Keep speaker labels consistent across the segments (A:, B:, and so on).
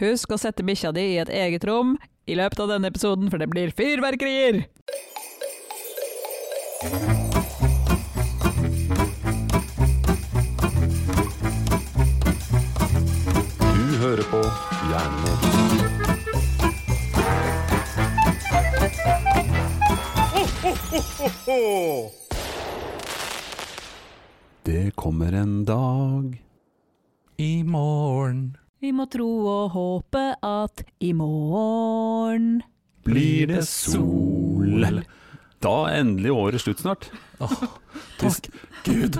A: Husk å sette bikkja di i et eget rom i løpet av denne episoden, for det blir fyrverkerier!
B: Du hører på Jernmor. Det kommer en dag
C: I morgen
A: Vi må tro og håpe at i morgen
B: blir det sol. Da er endelig året slutt snart.
C: Takk Gud.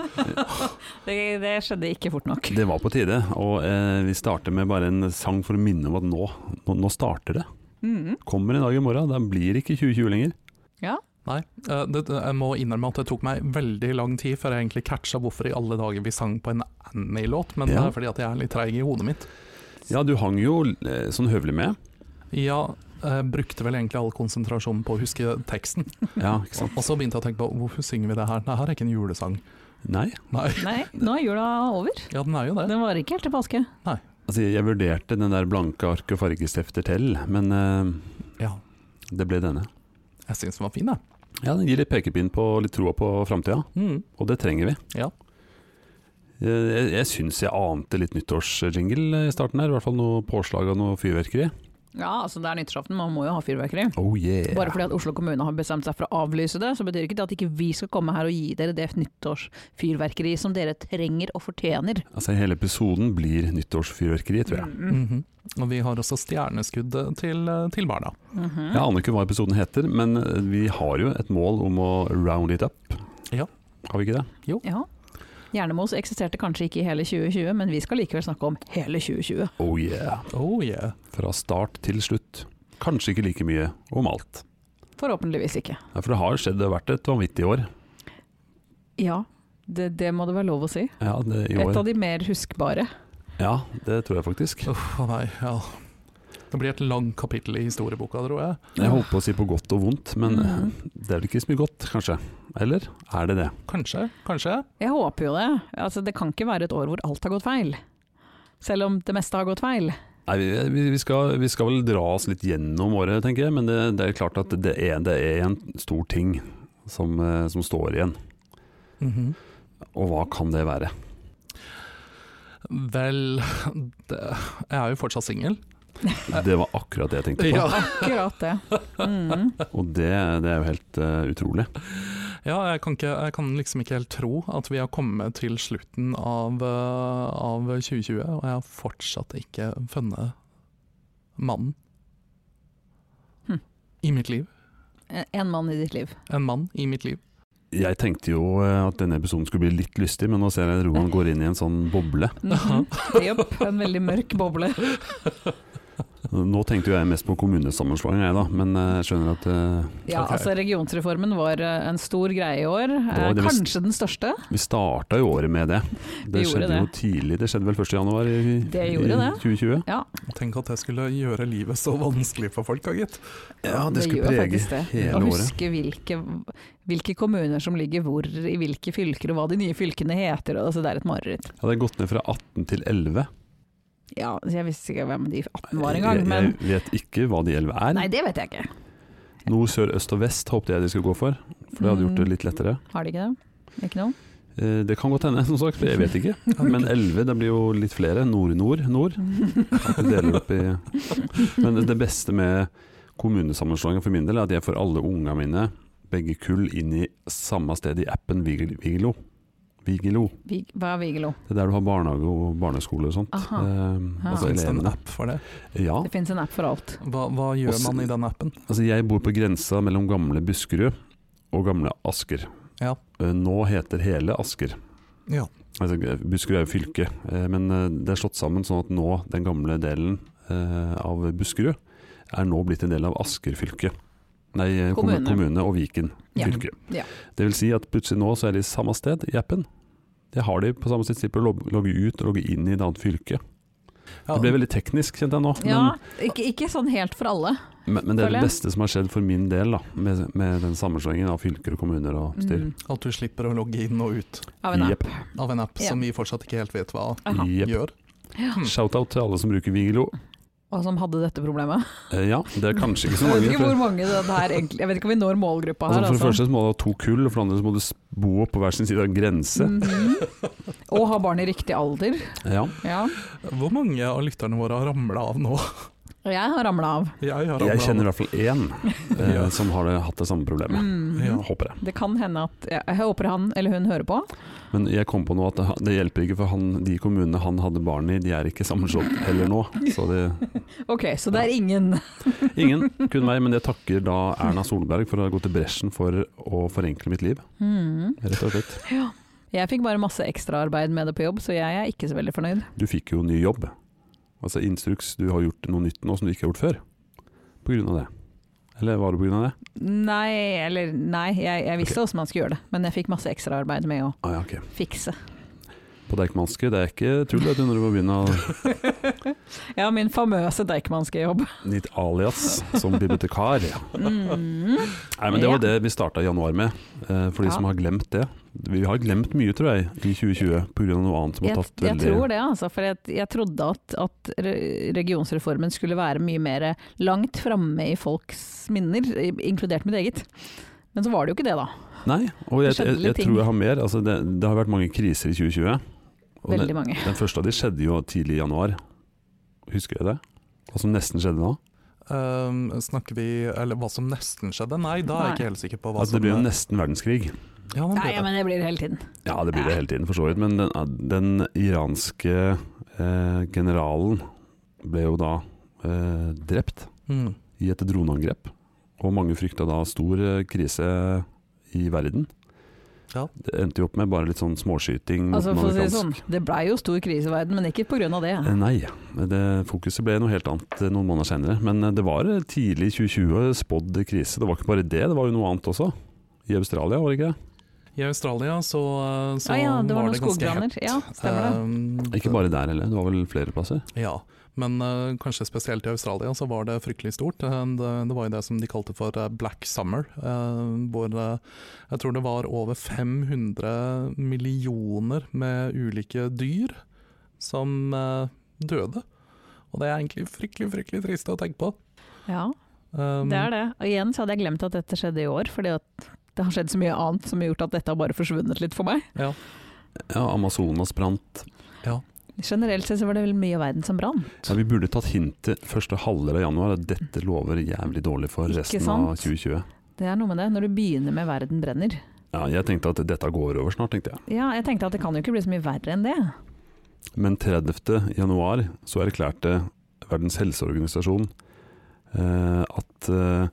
A: Det, det skjedde ikke fort nok.
B: Det var på tide, og eh, vi starter med bare en sang for å minne om at nå, nå, nå starter det.
A: Mhm.
B: Kommer en dag i morgen, da blir det ikke 2020 lenger.
A: Ja.
C: Nei, eh, det, jeg må innrømme at det tok meg veldig lang tid før jeg egentlig catcha hvorfor i alle dager vi sang på en Annie-låt, men
B: Ja.
C: det er fordi at jeg er litt treig i hodet mitt.
B: Ja, du hang jo eh, sånn høvelig med.
C: Ja, jeg brukte vel egentlig all konsentrasjonen på å huske teksten,
B: Ja, ikke sant?
C: og så begynte jeg å tenke på hvorfor synger vi det her? Det her er ikke en julesang.
B: Nei,
C: Nei,
A: Nei, nå er jula over.
C: ja den er jo det.
A: Den varer ikke helt til påske.
B: altså jeg vurderte den der blanke ark og fargestifter til, men eh,
C: Ja,
B: det ble denne.
C: jeg syns den var fin, jeg.
B: Ja, den gir litt pekepinn på litt troa på framtida,
C: Mm.
B: og det trenger vi.
C: Ja.
B: Jeg, jeg- jeg syns jeg ante litt nyttårsjingle i starten her, i hvert fall noe påslag av noe fyrverkeri.
A: Ja, altså det er nyttårsaften, man må jo ha fyrverkeri.
B: Oh yeah!
A: Bare fordi at Oslo kommune har bestemt seg for å avlyse det, så betyr ikke det at ikke vi skal komme her og gi dere det nyttårsfyrverkeri som dere trenger og fortjener. Mm,
B: Altså Hele episoden blir nyttårsfyrverkeri, tror jeg.
C: Mhm. Og vi har også stjerneskudd til, til barna.
A: Mhm. Mm.
B: Jeg aner ikke hva episoden heter, men eh, vi har jo et mål om å round it up.
C: Ja.
B: Har vi ikke det?
A: Ja. Hjernemos eksisterte kanskje ikke i hele 2020, men vi skal likevel snakke om hele 2020.
B: Oh yeah!
C: Oh yeah.
B: Fra start til slutt. Kanskje ikke like mye om alt.
A: Forhåpentligvis ikke.
B: Nei, For det har skjedd, det har vært et vanvittig år.
A: Ja, det, det må det være lov å si.
B: Ja, det, i
A: Et av
B: år.
A: de mer huskbare.
B: Ja, det tror jeg faktisk.
C: Uff a meg, ja. Det blir et langt kapittel i historieboka, tror jeg.
B: Jeg holdt på å si på godt og vondt, men
A: Mhm.
B: det er vel ikke så mye godt, kanskje? Eller er det det?
C: Kanskje, kanskje.
A: Jeg håper jo det. Altså, det kan ikke være et år hvor alt har gått feil. Selv om det meste har gått feil.
B: Nei, vi- vi, vi, skal, vi skal vel dra oss litt gjennom året, tenker jeg, men det, det er klart at det er, det er en stor ting som, eh, som står igjen.
C: Mhm.
B: Og hva kan det være?
C: Vel, det, jeg er jo fortsatt singel.
B: Det var akkurat det jeg tenkte på,
A: Akkurat det. Mm.
B: og det, det er jo helt eh, utrolig.
C: ja jeg, kan ikke, jeg kan liksom ikke helt tro at vi har kommet til slutten av, eh, av 2020, og jeg har fortsatt ikke funnet mannen
A: Hm.
C: i mitt liv.
A: En mann i ditt liv.
C: En mann i mitt liv.
B: Jeg tenkte jo eh, at denne episoden skulle bli litt lystig, men nå ser jeg Roman går inn i en sånn boble.
A: Mhm. Jopp, en veldig mørk boble.
B: Nå tenkte jo jeg mest på kommunesammenslåing, jeg da, men eh, jeg skjønner at eh,
A: Ja,
C: Ok.
A: altså Regionsreformen var eh, en stor greie i år.
B: var
A: Eh,
B: det mest-
A: Kanskje den største.
B: Vi starta jo året med det. Det
A: Vi gjorde
B: skjedde jo tidlig, det skjedde vel 1. januar i, i
A: Det gjorde det.
B: 2020?
C: Tenk at jeg skulle gjøre livet så vanskelig for folk, da, gitt.
B: Ja, det skulle
A: gjør
B: prege
A: faktisk det. Å
B: hele året.
A: huske hvilke, hvilke kommuner som ligger hvor, i hvilke fylker, og hva de nye fylkene heter. og Altså, det er et mareritt.
B: Jeg hadde gått ned fra 18 til 11.
A: Ja, så jeg visste ikke hvem de 18 var
B: Jeg,
A: engang, men
B: jeg vet ikke hva de 11 er.
A: Nei, det vet jeg ikke.
B: Nord, sør, øst og vest håpte jeg de skulle gå for, for det hadde gjort det litt lettere.
A: Mm, Har de ikke det? Ikke noe?
B: Eh, Det kan godt hende, som sagt, for jeg vet ikke. Men 11 det blir jo litt flere. Nord, nord, nord. At vi deler opp i Men det beste med kommunesammenslåingen for min del er at jeg får alle unga mine, begge kull, inn i samme sted i appen Vigil- Vigilo. Vigilo.
A: Vig, hva er Vigelo?
B: Det er der du har barnehage og barneskole og sånt.
A: Aha.
B: Eh, altså
A: Ah.
C: Finnes det en
B: elevene.
C: app for det?
B: Ja.
A: Det finnes en app for alt.
C: Hva, hva gjør
B: Også-
C: man i den appen?
B: Altså, jeg bor på grensa mellom gamle Buskerud og gamle Asker.
C: Ja.
B: Eh, Nå heter hele Asker.
C: Ja.
B: Altså, Buskerud er jo fylke, eh, men eh, det er slått sammen sånn at nå den gamle delen eh, av Buskerud er nå blitt en del av Asker fylke. Nei, eh, kommu-
A: Kommune.
B: kommune og Viken
A: Ja.
B: fylke.
A: Ja.
B: Det vil si at plutselig nå så er de samme sted i appen. Jeg har de på samme sted, slipper å log- logge ut og logge inn i et annet fylke.
C: Ja,
B: Det ble veldig teknisk, kjente jeg nå.
A: Ja, ikke, ikke sånn helt for alle.
B: Men, men det er
A: Føler
B: det
A: jeg.
B: beste som har skjedd for min del, da, med, med den sammenslåingen av fylker og kommuner og styr.
A: Mm,
C: At du slipper å logge inn og ut
A: av en
B: Jepp.
A: app.
C: av en app
A: Ja.
C: som vi fortsatt ikke helt vet hva
A: Aha.
B: Jepp.
C: gjør.
B: Shout-out til alle som bruker Vigelo.
A: og som hadde dette problemet.
B: Eh, ja, det er kanskje ikke så
A: Jeg vet
B: mange.
A: ikke
B: for-
A: hvor mange det er egentlig Jeg vet ikke om vi når målgruppa her.
B: Altså, for det
A: altså.
B: første så må du ha to kull, og for det andre så må du s- bo på hver sin side av en grense.
A: Mhm. Og ha barn i riktig alder.
B: Ja.
A: Ja.
C: Hvor mange av lytterne våre har ramla av nå?
A: Og jeg har ramla av.
C: Jeg har
B: Jeg
C: ramlet
B: kjenner i
C: av.
B: hvert fall én eh,
C: Ja.
B: som har det, hatt det samme problemet.
A: Mhm.
C: Ja.
B: Håper jeg.
A: Det kan hende at Jeg, jeg håper han eller hun hører på.
B: Men jeg kom på nå at det, det hjelper ikke, for han, de kommunene han hadde barn i, de er ikke sammenslått heller nå. Så det,
A: Ok, så det er ingen
B: ingen, kun meg. Men jeg takker da Erna Solberg for å ha gått i bresjen for å forenkle mitt liv,
A: Mhm.
B: rett og slett.
A: Jeg fikk bare masse ekstraarbeid med det på jobb, så jeg er ikke så veldig fornøyd.
B: Du fikk jo ny jobb. Altså instruks, du har gjort noe nytt nå som du ikke har gjort før. På grunn av det. Eller var det på grunn av det?
A: Nei, eller nei, jeg, jeg visste hvordan man skulle gjøre det, men jeg fikk masse ekstraarbeid med å
B: Ah, ja, ok.
A: fikse.
B: På Deichmanske, det er ikke tull vet du, når du må begynne å
A: Ja, min famøse Deichmanske jobb.
B: Ditt alias som bibliotekar.
A: Mm.
B: Nei, men Det var
A: Ja.
B: det vi starta i januar med, eh, for de
A: Ja.
B: som har glemt det. Vi har glemt mye, tror jeg, i 2020 pga. noe annet som har
A: Jeg,
B: tatt
A: jeg
B: veldig
A: tror det, altså. For jeg, jeg trodde at, at re- regionsreformen skulle være mye mer langt framme i folks minner, i- inkludert mitt eget. Men så var det jo ikke det, da.
B: Nei, og jeg,
A: Det skjedde
B: jeg, jeg
A: litt ting.
B: tror jeg har mer. Altså, det, det har vært mange kriser i 2020. Og
A: Veldig
B: den,
A: mange.
B: den første av de skjedde jo tidlig i januar. Husker jeg det? Hva som nesten skjedde nå?
C: Ehm, snakker vi Eller hva som nesten skjedde? Nei, da er jeg ikke helt sikker på hva
B: Altså,
C: som
B: det blir jo nesten verdenskrig.
C: Ja, den Sånn ble
A: Nei,
C: det.
A: men det blir det hele tiden.
B: Ja, det blir det
A: Ja.
B: hele tiden, for så vidt. Men den, ah, den iranske eh, generalen ble jo da eh, drept.
C: Mm.
B: i et droneangrep. Og mange frykta da stor eh, krise i verden.
C: Ja.
B: Det endte jo opp med bare litt sånn småskyting. mot
A: Altså,
B: den
A: for å si det
B: amerikanske-
A: sånn, det blei jo stor krise i verden, men ikke pga. det.
B: Eh, Nei, det, fokuset ble noe helt annet eh, noen måneder senere. Men eh, det var eh, tidlig i 2020 spådd krise. Det var ikke bare det, det var jo noe annet også. I Australia, var det ikke det?
C: I Australia så, eh, så
A: Ja,
B: Sånn
A: ja, det var noen
C: ganske
A: skogbranner.
C: hett.
A: Ja, stemmer
B: Eh,
A: det.
C: Ehm,
B: Ikke bare der heller, det var vel flere plasser.
C: Ja, men eh, kanskje spesielt i Australia så var det fryktelig stort. Eh, det, det var jo det som de kalte for eh, Black Summer, eh, hvor eh, jeg tror det var over 500 millioner med ulike dyr som eh, døde. Og det er egentlig fryktelig, fryktelig trist å tenke på.
A: Ja,
C: Um,
A: det er det. Og igjen så hadde jeg glemt at dette skjedde i år, fordi at det har skjedd så mye annet som har gjort at dette har bare forsvunnet litt for meg.
B: Ja, Amazonas brant.
A: Generelt sett så var det vel mye av verden som brant.
B: Ja, vi burde tatt hintet første halvdel av januar. at Dette lover jævlig dårlig for
A: Ikke
B: resten av
A: sant?
B: 2020.
A: Det er noe med det, når du begynner med 'verden brenner'.
B: Ja, jeg tenkte at dette går over snart, tenkte jeg.
A: Ja, jeg tenkte at det kan jo ikke bli så mye verre enn det.
B: Men 30. januar så erklærte Verdens helseorganisasjon eh, at eh,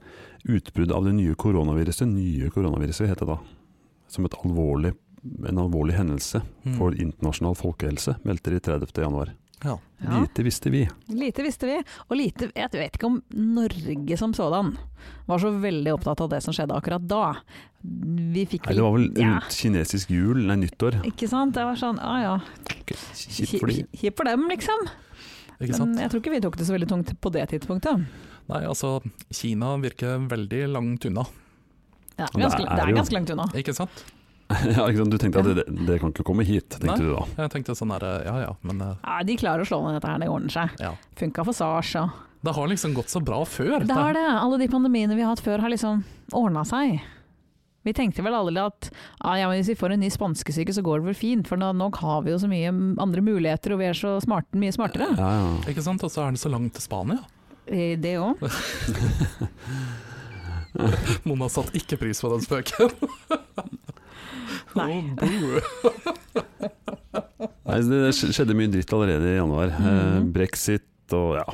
B: utbruddet av det nye koronaviruset, nye koronaviruset heter det da, som et alvorlig, en alvorlig hendelse
C: mm,
B: for internasjonal folkehelse, meldte de 30. januar.
C: ja.
A: Ja,
B: Lite visste vi.
A: lite visste vi, og lite Jeg vet ikke om Norge som sådan var så veldig opptatt av det som skjedde akkurat da. Vi fikk
B: Nei, det var vel
A: ja,
B: rundt kinesisk jul, nei nyttår.
A: Ikke sant? Det var sånn, ah ja.
B: Kjipt for de.
A: Kjipt kjip for dem, liksom.
C: Ikke sant?
A: Men jeg tror ikke vi tok det så veldig tungt på det tidspunktet.
C: Nei, altså, Kina virker veldig langt unna,
A: Ja,
B: det
A: ganske,
B: er
A: det er
B: jo-
A: ganske langt unna.
C: ikke sant?
B: ja, ikke sant? Du tenkte at det, det kan ikke komme hit,
C: Nei.
B: tenkte du da.
C: Jeg tenkte sånn her, eh, ja ja, men eh,
A: Nei, de klarer å slå ned dette her, det ordner seg.
C: ja.
A: Funka for Sars og
C: Det har liksom gått så bra før.
A: Det har det. Alle de pandemiene vi har hatt før har liksom ordna seg. Vi tenkte vel alle at ah, ja, men hvis vi får en ny spanskesyke så går det vel fint, for nå, nå har vi jo så mye andre muligheter og vi er så smarte, mye smartere.
B: Ja, ja.
C: Ikke sant? Og så er det så langt til Spania.
A: Eh, Det òg.
C: Mona satte ikke pris på den spøken.
A: Nei.
C: Å, boo.
B: Nei, det sk- skjedde mye dritt allerede i januar. Eh,
A: Mhm.
B: Brexit og ja.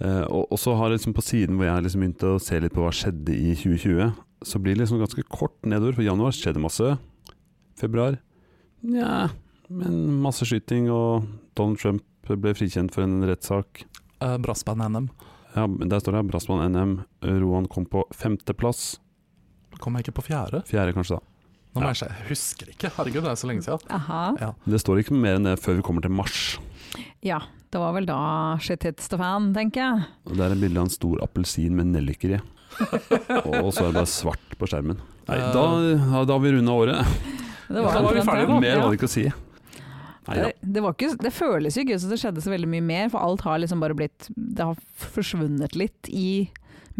B: Eh, og, og så har jeg liksom på siden hvor jeg liksom begynte å se litt på hva skjedde i 2020, så blir det liksom ganske kort nedover. For januar skjedde masse. Februar nja, men masse skyting, og Donald Trump ble frikjent for en rettssak.
C: Eh, Brassband-NM
B: Ja, men der står det Brassmann NM. Roan kom på femteplass.
C: kom jeg ikke på fjerde.
B: Fjerde, kanskje, da.
C: Nå må jeg se, jeg husker ikke, herregud det er så lenge siden.
A: Aha.
B: Det står ikke mer enn det før vi kommer til mars.
A: Ja, det var vel da shit hits the fan, tenker jeg.
B: Og Der er bildet av en stor appelsin med nelliker i. Og så er det bare svart på skjermen. Nei, da, ja, da har vi runda året.
A: Det
C: Ja, da var vi
A: omtrent
C: ferdige
A: det.
B: Mer var det ikke å si. Nei, ja.
A: Det, det, var ikke, det føles jo ikke ut som det skjedde så veldig mye mer, for alt har liksom bare blitt Det har forsvunnet litt i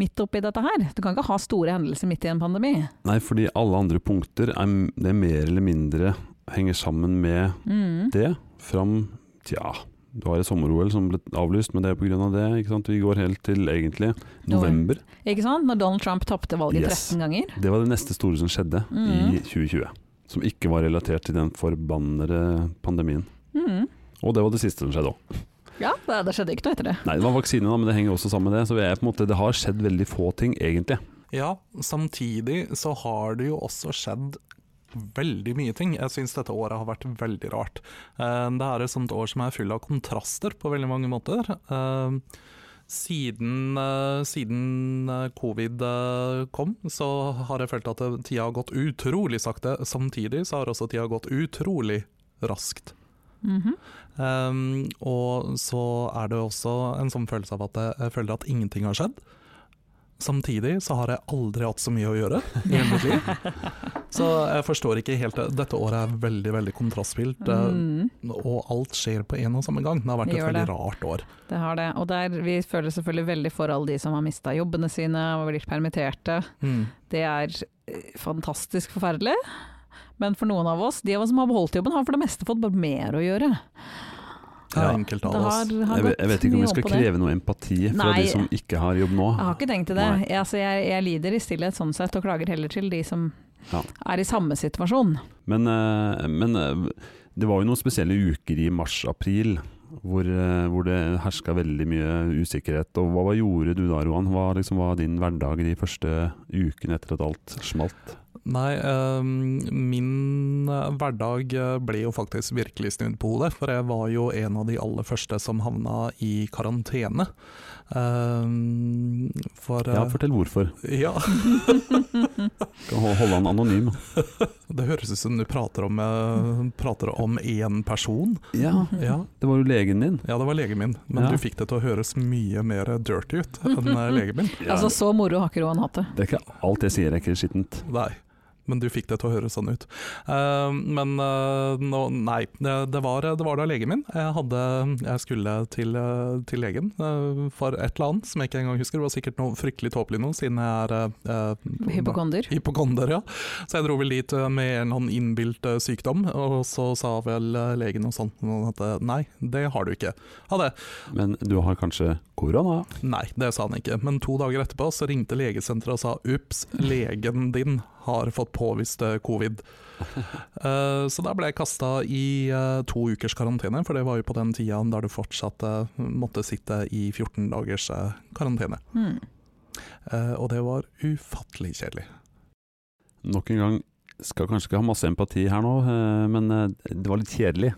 A: midt oppi dette her. Du kan ikke ha store hendelser midt i en pandemi.
B: Nei, fordi alle andre punkter er, det mer eller mindre henger sammen med
A: Mm.
B: det fram Tja, du har et sommer-OL som ble avlyst, men det er pga. Av det. Ikke sant? Vi går helt til egentlig november.
A: Ikke sant? Når Donald Trump tapte valget
B: Yes.
A: 13 ganger.
B: Det var det neste store som skjedde
A: Mm.
B: i 2020. Som ikke var relatert til den forbannede pandemien.
A: Mm.
B: Og det var det siste som skjedde òg.
A: Ja, det, det skjedde ikke noe etter det.
B: Nei, det var vaksine, da, men det henger også sammen med det. Så vi er på en måte, det har skjedd veldig få ting, egentlig.
C: Ja, samtidig så har det jo også skjedd veldig mye ting. Jeg syns dette året har vært veldig rart. Eh, Det er et sånt år som er full av kontraster på veldig mange måter. Eh, Siden, eh, siden eh, covid eh, kom, så har jeg følt at eh, tida har gått utrolig sakte. Samtidig så har også tida gått utrolig raskt.
A: Mhm.
C: Um, og så er det også en sånn følelse av at jeg, jeg føler at ingenting har skjedd. Samtidig så har jeg aldri hatt så mye å gjøre i hele mitt liv. Så jeg forstår ikke helt det. Dette året er veldig veldig kontrastfylt, eh,
A: Mm.
C: og alt skjer på en og samme gang. Det har vært
A: Det
C: et
A: gjør
C: veldig
A: det.
C: rart år.
A: Det har det. Og der, vi føler selvfølgelig veldig for alle de som har mista jobbene sine og blitt permitterte.
C: Mm.
A: Det er eh, fantastisk forferdelig. Men for noen av oss, de av oss som har beholdt jobben, har for det meste fått bare mer å gjøre.
C: Det er
B: Ja.
C: enkelte
A: Det
C: av oss.
A: har, har
B: Jeg, vet-
A: gått
B: jeg vet ikke om
A: mye
B: vi skal
A: opp på det.
B: kreve noe empati fra
A: Nei.
B: de som ikke har jobb nå.
A: Jeg har ikke tenkt til det.
B: Nei.
A: Jeg, altså, jeg, jeg lider i stillhet sånn sett, og klager heller til de som
B: Ja.
A: er i samme situasjon.
B: Men, eh, men eh, det var jo noen spesielle uker i mars-april hvor, eh, hvor det herska veldig mye usikkerhet. Og hva, hva gjorde du da, Roan? Hva liksom var din hverdag de første ukene etter at alt smalt?
C: Nei, eh, min eh, hverdag eh, ble jo faktisk virkelig snudd på hodet, for jeg var jo en av de aller første som havna i karantene. Eh, for, eh,
B: Ja, fortell hvorfor.
C: ja,
B: Kan hol- holde han anonym.
C: det høres ut som du prater om, eh, prater om én person.
B: Ja,
C: Ja,
B: det var jo legen din.
C: ja, det var legen min, men
B: Ja.
C: du fikk det til å høres mye mer dirty ut enn eh, legen min.
A: Altså, så moro har ikke Roan hatt det.
B: Det er ikke alt jeg sier er ikke skittent.
C: Nei, men du fikk det til å høres sånn ut. Eh, men eh, nå, nei, det, det, var, det var da legen min. Jeg, hadde, jeg skulle til, eh, til legen eh, for et eller annet som jeg ikke engang husker. Det var sikkert noe fryktelig tåpelig nå, siden jeg er eh, eh,
A: Hypokonder.
C: Hypokonder, ja. Så jeg dro vel dit eh, med en eller annen innbilt eh, sykdom, og så sa vel eh, legen noe sånt noe at eh, nei, det har du ikke. Ha det.
B: Men du har kanskje korona?
C: Nei, det sa han ikke. Men to dager etterpå så ringte legesenteret og sa ups, legen din har fått påvist eh, covid. Eh, så da ble jeg kasta i eh, to ukers karantene, for det var jo på den tida der du fortsatt eh, måtte sitte i 14 dagers eh, karantene.
A: Mm.
C: Eh, og det var ufattelig kjedelig.
B: Nok en gang, skal kanskje ikke ha masse empati her nå, eh, men eh, det var litt kjedelig.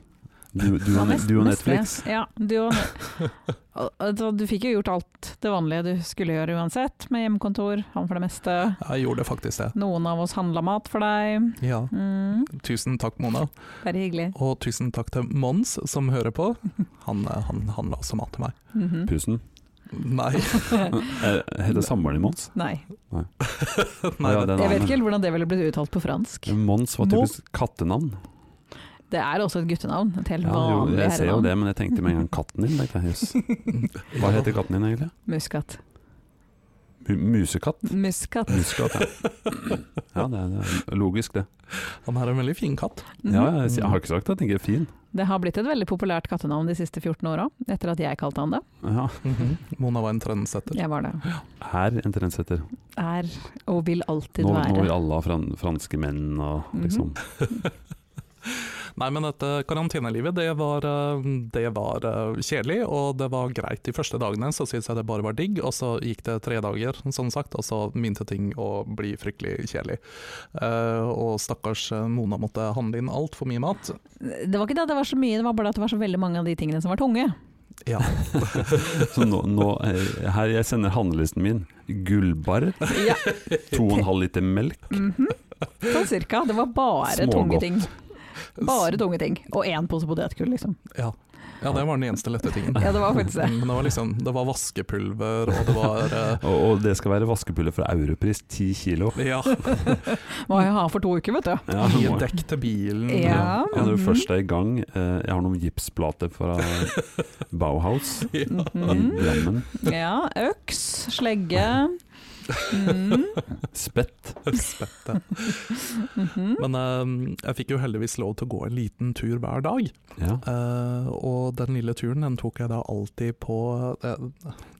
B: Du, du, og,
A: Nest-
B: du og
A: neste.
B: Netflix.
A: Ja, du, og, og, og, du fikk jo gjort alt det vanlige du skulle gjøre uansett, med hjemmekontor, han for det meste.
C: Jeg gjorde faktisk det.
A: Noen av oss handla mat for deg.
C: Ja.
A: Mm,
C: Tusen takk, Mona.
A: bare hyggelig.
C: Og tusen takk til Mons, som hører på. Han, eh, han, han la også mat til meg.
A: Mhm.
B: Pusen.
C: Nei,
B: Eh, Heter samboeren din Mons?
A: Nei,
C: nei
B: Ja,
C: det,
B: den
A: jeg vet
B: andre.
A: ikke helt hvordan det ville blitt uttalt på fransk.
B: Mons var typisk kattenavn.
A: Det er også et guttenavn. Et helt
B: Ja, jo,
A: vanlig
B: jeg ser jo
A: herrenavn.
B: det, men jeg tenkte med en gang katten din. tenkte jeg. Jøss. Hva heter katten din egentlig?
A: Muskat.
B: Mu- Musekatt?
A: Muskat.
B: Musekatt, ja. Ja, det er, det er logisk, det.
C: han er en veldig fin katt.
A: Mhm.
B: Ja, jeg, jeg har ikke sagt det, jeg tenker fin.
A: Det har blitt et veldig populært kattenavn de siste 14 åra, etter at jeg kalte han det.
B: Ja,
A: Mhm.
C: Mona var en trendsetter.
A: Jeg var det.
B: her en trendsetter.
A: Er og vil alltid
B: Nå, nå vil
A: være.
B: alle ha fran, franske menn og liksom
C: Nei, men dette karantenelivet, det var, eh, det var eh, kjedelig, og det var greit de første dagene. Så syntes jeg det bare var digg, og så gikk det tre dager, som sagt, og så begynte ting å bli fryktelig kjedelig. Eh, og stakkars eh, Mona måtte handle inn altfor mye mat.
A: Det var ikke det at det var så mye, det var bare at det var så veldig mange av de tingene som var tunge.
C: Ja.
B: Så nå, nå eh, her jeg sender handlelisten min. Gullbar,
A: Ja,
B: 2,5 liter melk,
A: mhm. Sånn cirka. Det var bare
B: Smågodt.
A: tunge ting. Bare tunge ting. Og én pose potetgull, liksom.
C: Ja. Ja, det var den eneste lette tingen.
A: Ja, det var faktisk det.
C: Men det var liksom, det var vaskepulver, og det var eh,
B: Og, og det skal være vaskepuller fra Europris, ti kilo.
C: Ja,
A: Må jeg ha for to uker, vet du.
B: Ja,
C: nye
B: må-
C: dekk til bilen.
A: Ja.
B: Ja, Når du først er i gang eh, Jeg har noen gipsplater fra Bauhaus i
A: Mhm.
B: Drammen.
A: Ja, øks, slegge. Mm.
B: Spett.
C: Spette.
A: mhm.
C: Men eh, jeg fikk jo heldigvis lov til å gå en liten tur hver dag.
B: Ja.
C: Eh, og den lille turen den tok jeg da alltid på eh,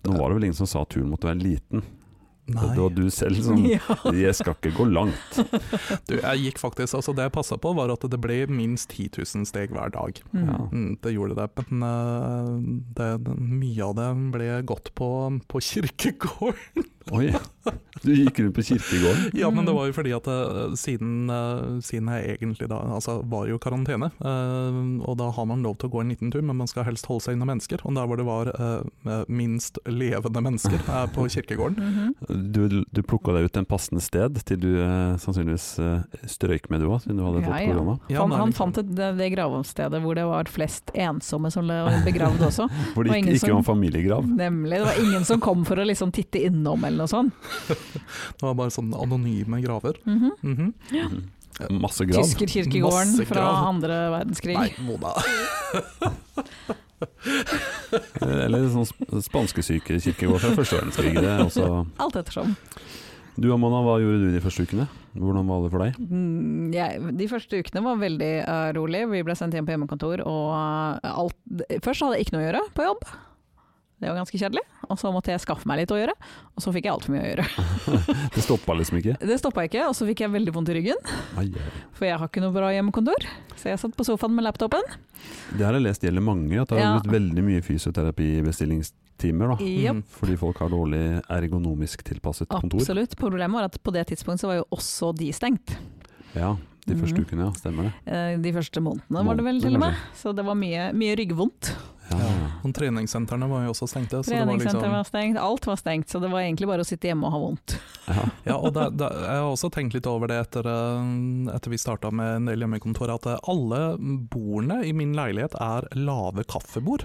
B: Nå var det vel ingen som sa at turen måtte være liten.
C: Nei,
B: Det var du selv som
A: Ja.
B: Jeg skal ikke gå langt.
C: du, jeg gikk faktisk Altså det jeg passa på, var at det ble minst 10 000 steg hver dag.
A: Mm.
C: Mm, det gjorde det, men eh, det, mye av det ble gått på, på kirkegård.
B: Oi. Du gikk rundt på kirkegården.
C: ja, men
A: Mm.
C: det var jo fordi at eh, siden, eh, siden jeg egentlig da Altså var jo i karantene, eh, og da har man lov til å gå en liten tur, men man skal helst holde seg unna mennesker. Og der hvor det var eh, minst levende mennesker, er på kirkegården.
A: Mhm.
B: Du, du plukka deg ut en passende sted til du eh, sannsynligvis eh, strøyk med du òg, siden du hadde
A: Ja,
B: fått
A: ja.
B: korona.
C: Ja,
A: han,
C: det er
A: han
C: litt- sånn.
A: fant et, det, det gravstedet hvor det var flest ensomme som ble begravd også.
B: Hvor det
A: Og
B: ikke,
A: ingen
B: ikke var en familiegrav.
A: Nemlig. Det var ingen som kom for å liksom titte innom eller noe sånt.
C: Det var bare sånne anonyme graver.
A: Mhm.
C: Mhm.
B: Masse grav.
A: Tyskerkirkegården
C: Masse
A: fra
C: grav.
A: andre verdenskrig.
C: Nei, Mona.
B: Eh, Eller sånn sp- spanskesyke kirkegård fra første verdenskrig. Det er også
A: Alt ettersom.
B: Du Amanda, hva gjorde du de første ukene? Hvordan var det for deg?
A: Mm, Jeg, de første ukene var veldig eh, rolig. Vi ble sendt hjem på hjemmekontor, og eh, alt Først så hadde jeg ikke noe å gjøre på jobb. Det var ganske kjedelig. Og så måtte jeg skaffe meg litt å gjøre, og så fikk jeg altfor mye å gjøre.
B: Det stoppa liksom ikke?
A: Det stoppa ikke, og så fikk jeg veldig vondt i ryggen,
B: Ai, ai.
A: for jeg har ikke noe bra hjemmekontor. Så jeg satt på sofaen med laptopen.
B: Det har jeg lest gjelder mange, at det har
A: Ja.
B: blitt veldig mye fysioterapibestillingstimer. da.
A: Japp.
C: Mm.
B: Fordi folk har dårlig ergonomisk tilpasset kontor.
A: Absolutt. Problemet var at på det tidspunktet så var jo også de stengt.
B: Ja, de første
A: Mhm.
B: ukene, ja. Stemmer det.
A: Eh, De første månedene var det vel
B: Månedene,
A: til og med. Så det var mye, mye ryggvondt.
B: Ja.
C: Ja. Og Sånn treningssentrene var jo også stengte. Så det var
A: Treningssenter
C: liksom,
A: var stengt, alt var stengt. Så det var egentlig bare å sitte hjemme og ha vondt.
B: Ja.
C: ja, og det, det, jeg har også tenkt litt over det etter, eh, etter vi starta med en del hjemmekontor, at eh, alle bordene i min leilighet er lave kaffebord.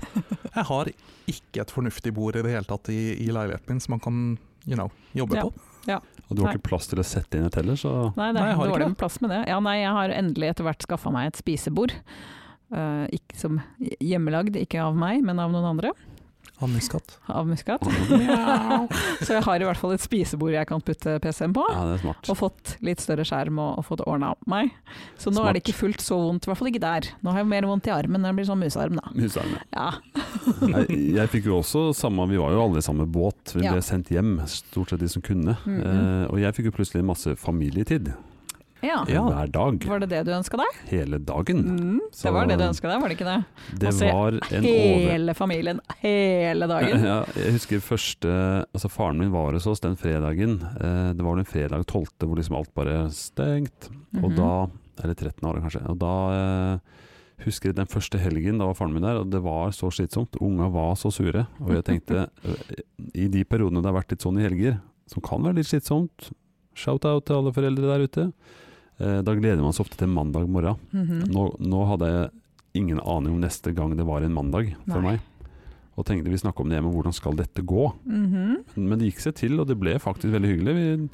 C: Jeg har ikke et fornuftig bord i det hele tatt i, i leiligheten min som man kan you know, jobbe
A: Ja.
C: på.
B: Og du har ikke plass til å sette inn et heller, så
A: Nei, det
C: Nei,
A: er
C: jeg har ikke
A: dårlig
C: det.
A: med plass med det. Ja, nei, jeg har endelig etter hvert skaffa meg et spisebord. Eh, ikke som hjemmelagd, ikke av meg, men av noen andre.
C: Anniskatt.
A: Av Muskat.
B: Mjau.
A: Så jeg har i hvert fall et spisebord jeg kan putte PC-en på.
B: Ja, det er smart.
A: Og fått litt større skjerm og, og fått ordna opp meg. Så nå er det
B: Smart.
A: ikke fullt så vondt, i hvert fall ikke der. Nå har jeg mer vondt i armen, det blir sånn musearm da.
B: Husarme.
A: Ja.
B: Jeg, jeg fikk jo også samme, vi var jo alle i samme båt. Vi
A: Ja.
B: ble sendt hjem, stort sett de som kunne.
A: Mhm.
B: eh, og jeg fikk jo plutselig masse familietid.
A: ja.
C: Ja.
B: Hver dag.
A: Var det det du ønska deg?
B: Hele dagen.
A: Mm,
B: Så-
A: det var det du ønska deg, var det ikke det?
B: Det
A: Og se
B: var en over...
A: Hele familien, hele dagen.
B: Ja, jeg husker første altså Faren min var hos oss den fredagen. Eh, det var den fredag 12. hvor liksom alt bare stengt. Og
A: Mhm.
B: da Eller 13 år, kanskje. Og da eh, husker jeg den første helgen, da var faren min der, og det var så slitsomt. Unga var så sure. Og jeg tenkte eh, I de periodene det har vært litt sånn i helger, som kan være litt slitsomt, shout-out til alle foreldre der ute, eh, da gleder man seg ofte til mandag morgen.
A: Mhm.
B: Nå, nå hadde jeg ingen aning om neste gang det var en mandag for
A: Nei.
B: meg. Og tenkte vi snakka om det hjemme, hvordan skal dette gå?
A: Mhm.
B: Men det gikk seg til, og det ble faktisk veldig hyggelig. Vi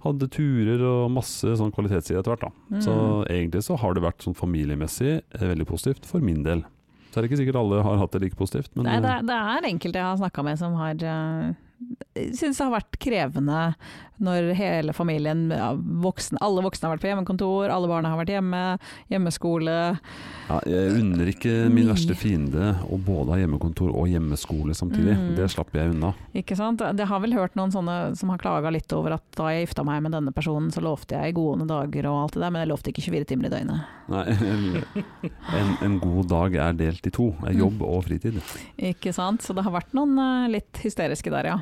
B: hadde turer og masse sånn kvalitetstid etter hvert. da. Så
A: Mm.
B: egentlig så har det vært sånn familiemessig eh, veldig positivt for min del. Så er det ikke sikkert alle har hatt det like positivt, men
A: Nei, det,
B: eh,
A: er- det er enkelte jeg har snakka med som har uh, syns det har vært krevende når hele familien, ja, voksen, alle voksne har vært på hjemmekontor, alle barna har vært hjemme, hjemmeskole.
B: eh, ja, jeg unner ikke min
A: Mye.
B: verste fiende å både ha hjemmekontor og hjemmeskole samtidig.
A: Mm.
B: Det slapp jeg unna.
A: Ikke sant? Jeg har vel hørt noen sånne som har klaga litt over at da jeg gifta meg med denne personen, så lovte jeg gående dager og alt det der, men jeg lovte ikke 24 timer i døgnet.
B: Nei, en, en god dag er delt i to.
A: Mm.
B: er Jobb og fritid.
A: Ikke sant? Så det har vært noen eh, litt hysteriske der, ja.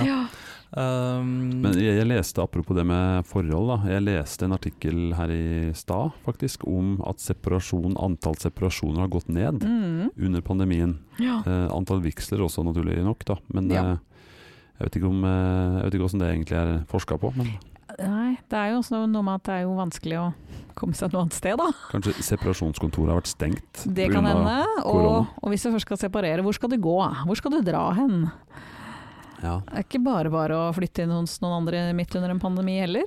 C: Ja. Um,
B: Men jeg, jeg leste, apropos det med forhold, da, jeg leste en artikkel her i stad faktisk om at separasjon, antall separasjoner har gått ned
A: Mm.
B: under pandemien.
A: ja.
B: Eh, antall vigsler også, naturlig nok. da, Men
A: Ja.
B: eh, jeg vet ikke om eh, jeg vet ikke hvordan det egentlig er forska på. Men
A: Nei, Det er jo også noe med at det er jo vanskelig å komme seg noe annet sted, da.
B: Kanskje separasjonskontoret har vært stengt.
A: Det
B: på
A: kan
B: grunn av-
A: hende.
B: korona.
A: Og, og hvis du først skal separere, hvor skal du gå? Hvor skal du dra hen?
B: Ja.
A: Det er ikke bare bare å flytte inn hos noen andre midt under en pandemi heller.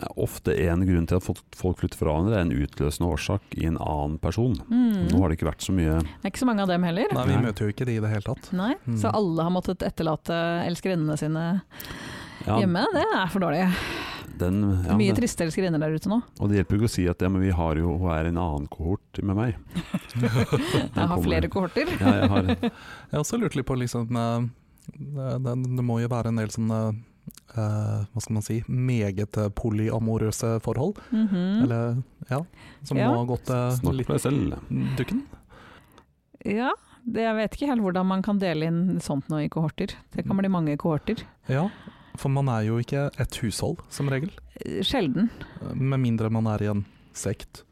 B: Ja, Ofte en grunn til at folk- folk flytter fra hverandre, er en utløsende årsak i en annen person.
A: Mm.
B: Nå har det ikke vært så mye
A: Det er ikke så mange av dem heller.
C: Nei, vi
B: Nei.
C: møter jo ikke de i det hele tatt.
A: Nei,
C: Mm.
A: Så alle har måttet etterlate elskerinnene sine
B: ja,
A: hjemme. Det er for dårlig.
B: Den, ja,
A: Mye
B: det-
A: triste elskerinner der ute nå.
B: Og det hjelper jo ikke å si at ja, men vi har jo, hun er en annen kohort med meg.
A: Jeg har
B: kommer.
A: flere kohorter.
B: Ja, jeg har
C: Jeg har også lurt litt på liksom, eh, det, det, det må jo være en del sånne eh, hva skal man si, meget eh, polyamorøse forhold.
A: Mhm.
C: Eller, ja, som
A: Ja.
C: må ha gått eh,
B: snakk
C: litt
B: for deg selv.
C: dukken.
A: Ja, det, jeg vet ikke helt hvordan man kan dele inn sånt nå i kohorter. Det
B: Mm.
A: kan bli mange kohorter.
C: Ja, for man er jo ikke et hushold, som regel.
A: Eh, Sjelden.
C: Med mindre man er i en sekt.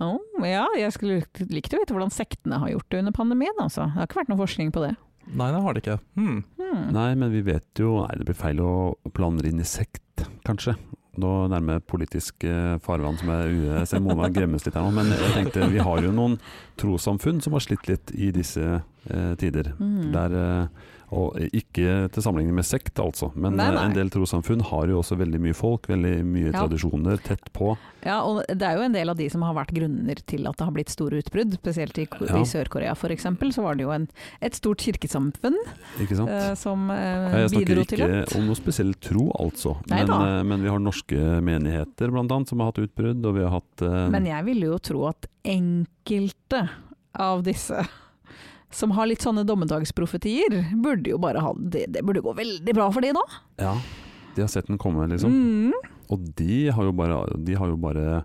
A: Å, ja, jeg skulle likt- likt å vite hvordan sektene har gjort det under pandemien, altså. Det har ikke vært noe forskning på det.
C: Nei, det har det ikke. Hmm.
A: Hmm.
B: Nei, men vi vet jo Nei, det blir feil å planere inn i sekt, kanskje. Nå nærmer politisk eh, farvann som er u- Jeg ser Mona gremmes litt her nå, men jeg tenkte vi har jo noen trossamfunn som har slitt litt i disse eh, tider.
A: Hmm.
B: Der, eh, og ikke til sammenligning med sekt, altså, men
A: Nei,
B: eh,
A: nei.
B: en del trossamfunn har jo også veldig mye folk, veldig mye
A: Ja.
B: tradisjoner tett på.
A: Ja, og det er jo en del av de som har vært grunner til at det har blitt store utbrudd. Spesielt i, Ko-
B: Ja.
A: i Sør-Korea f.eks. så var det jo en, et stort kirkesamfunn
B: Ikke sant?
A: eh, som
B: Ja,
A: eh,
B: Jeg snakker
A: bidro til det.
B: ikke om noe spesiell tro, altså.
A: Nei
B: Men,
A: da.
B: eh, men vi har norske menigheter blant annet, som har hatt utbrudd, og vi har hatt eh,
A: Men jeg ville jo tro at enkelte av disse som har litt sånne dommedagsprofetier, burde jo bare ha Det, det burde gå veldig bra for de nå.
B: Ja, de har sett den komme, liksom.
A: Mm.
B: Og de har jo bare De har jo bare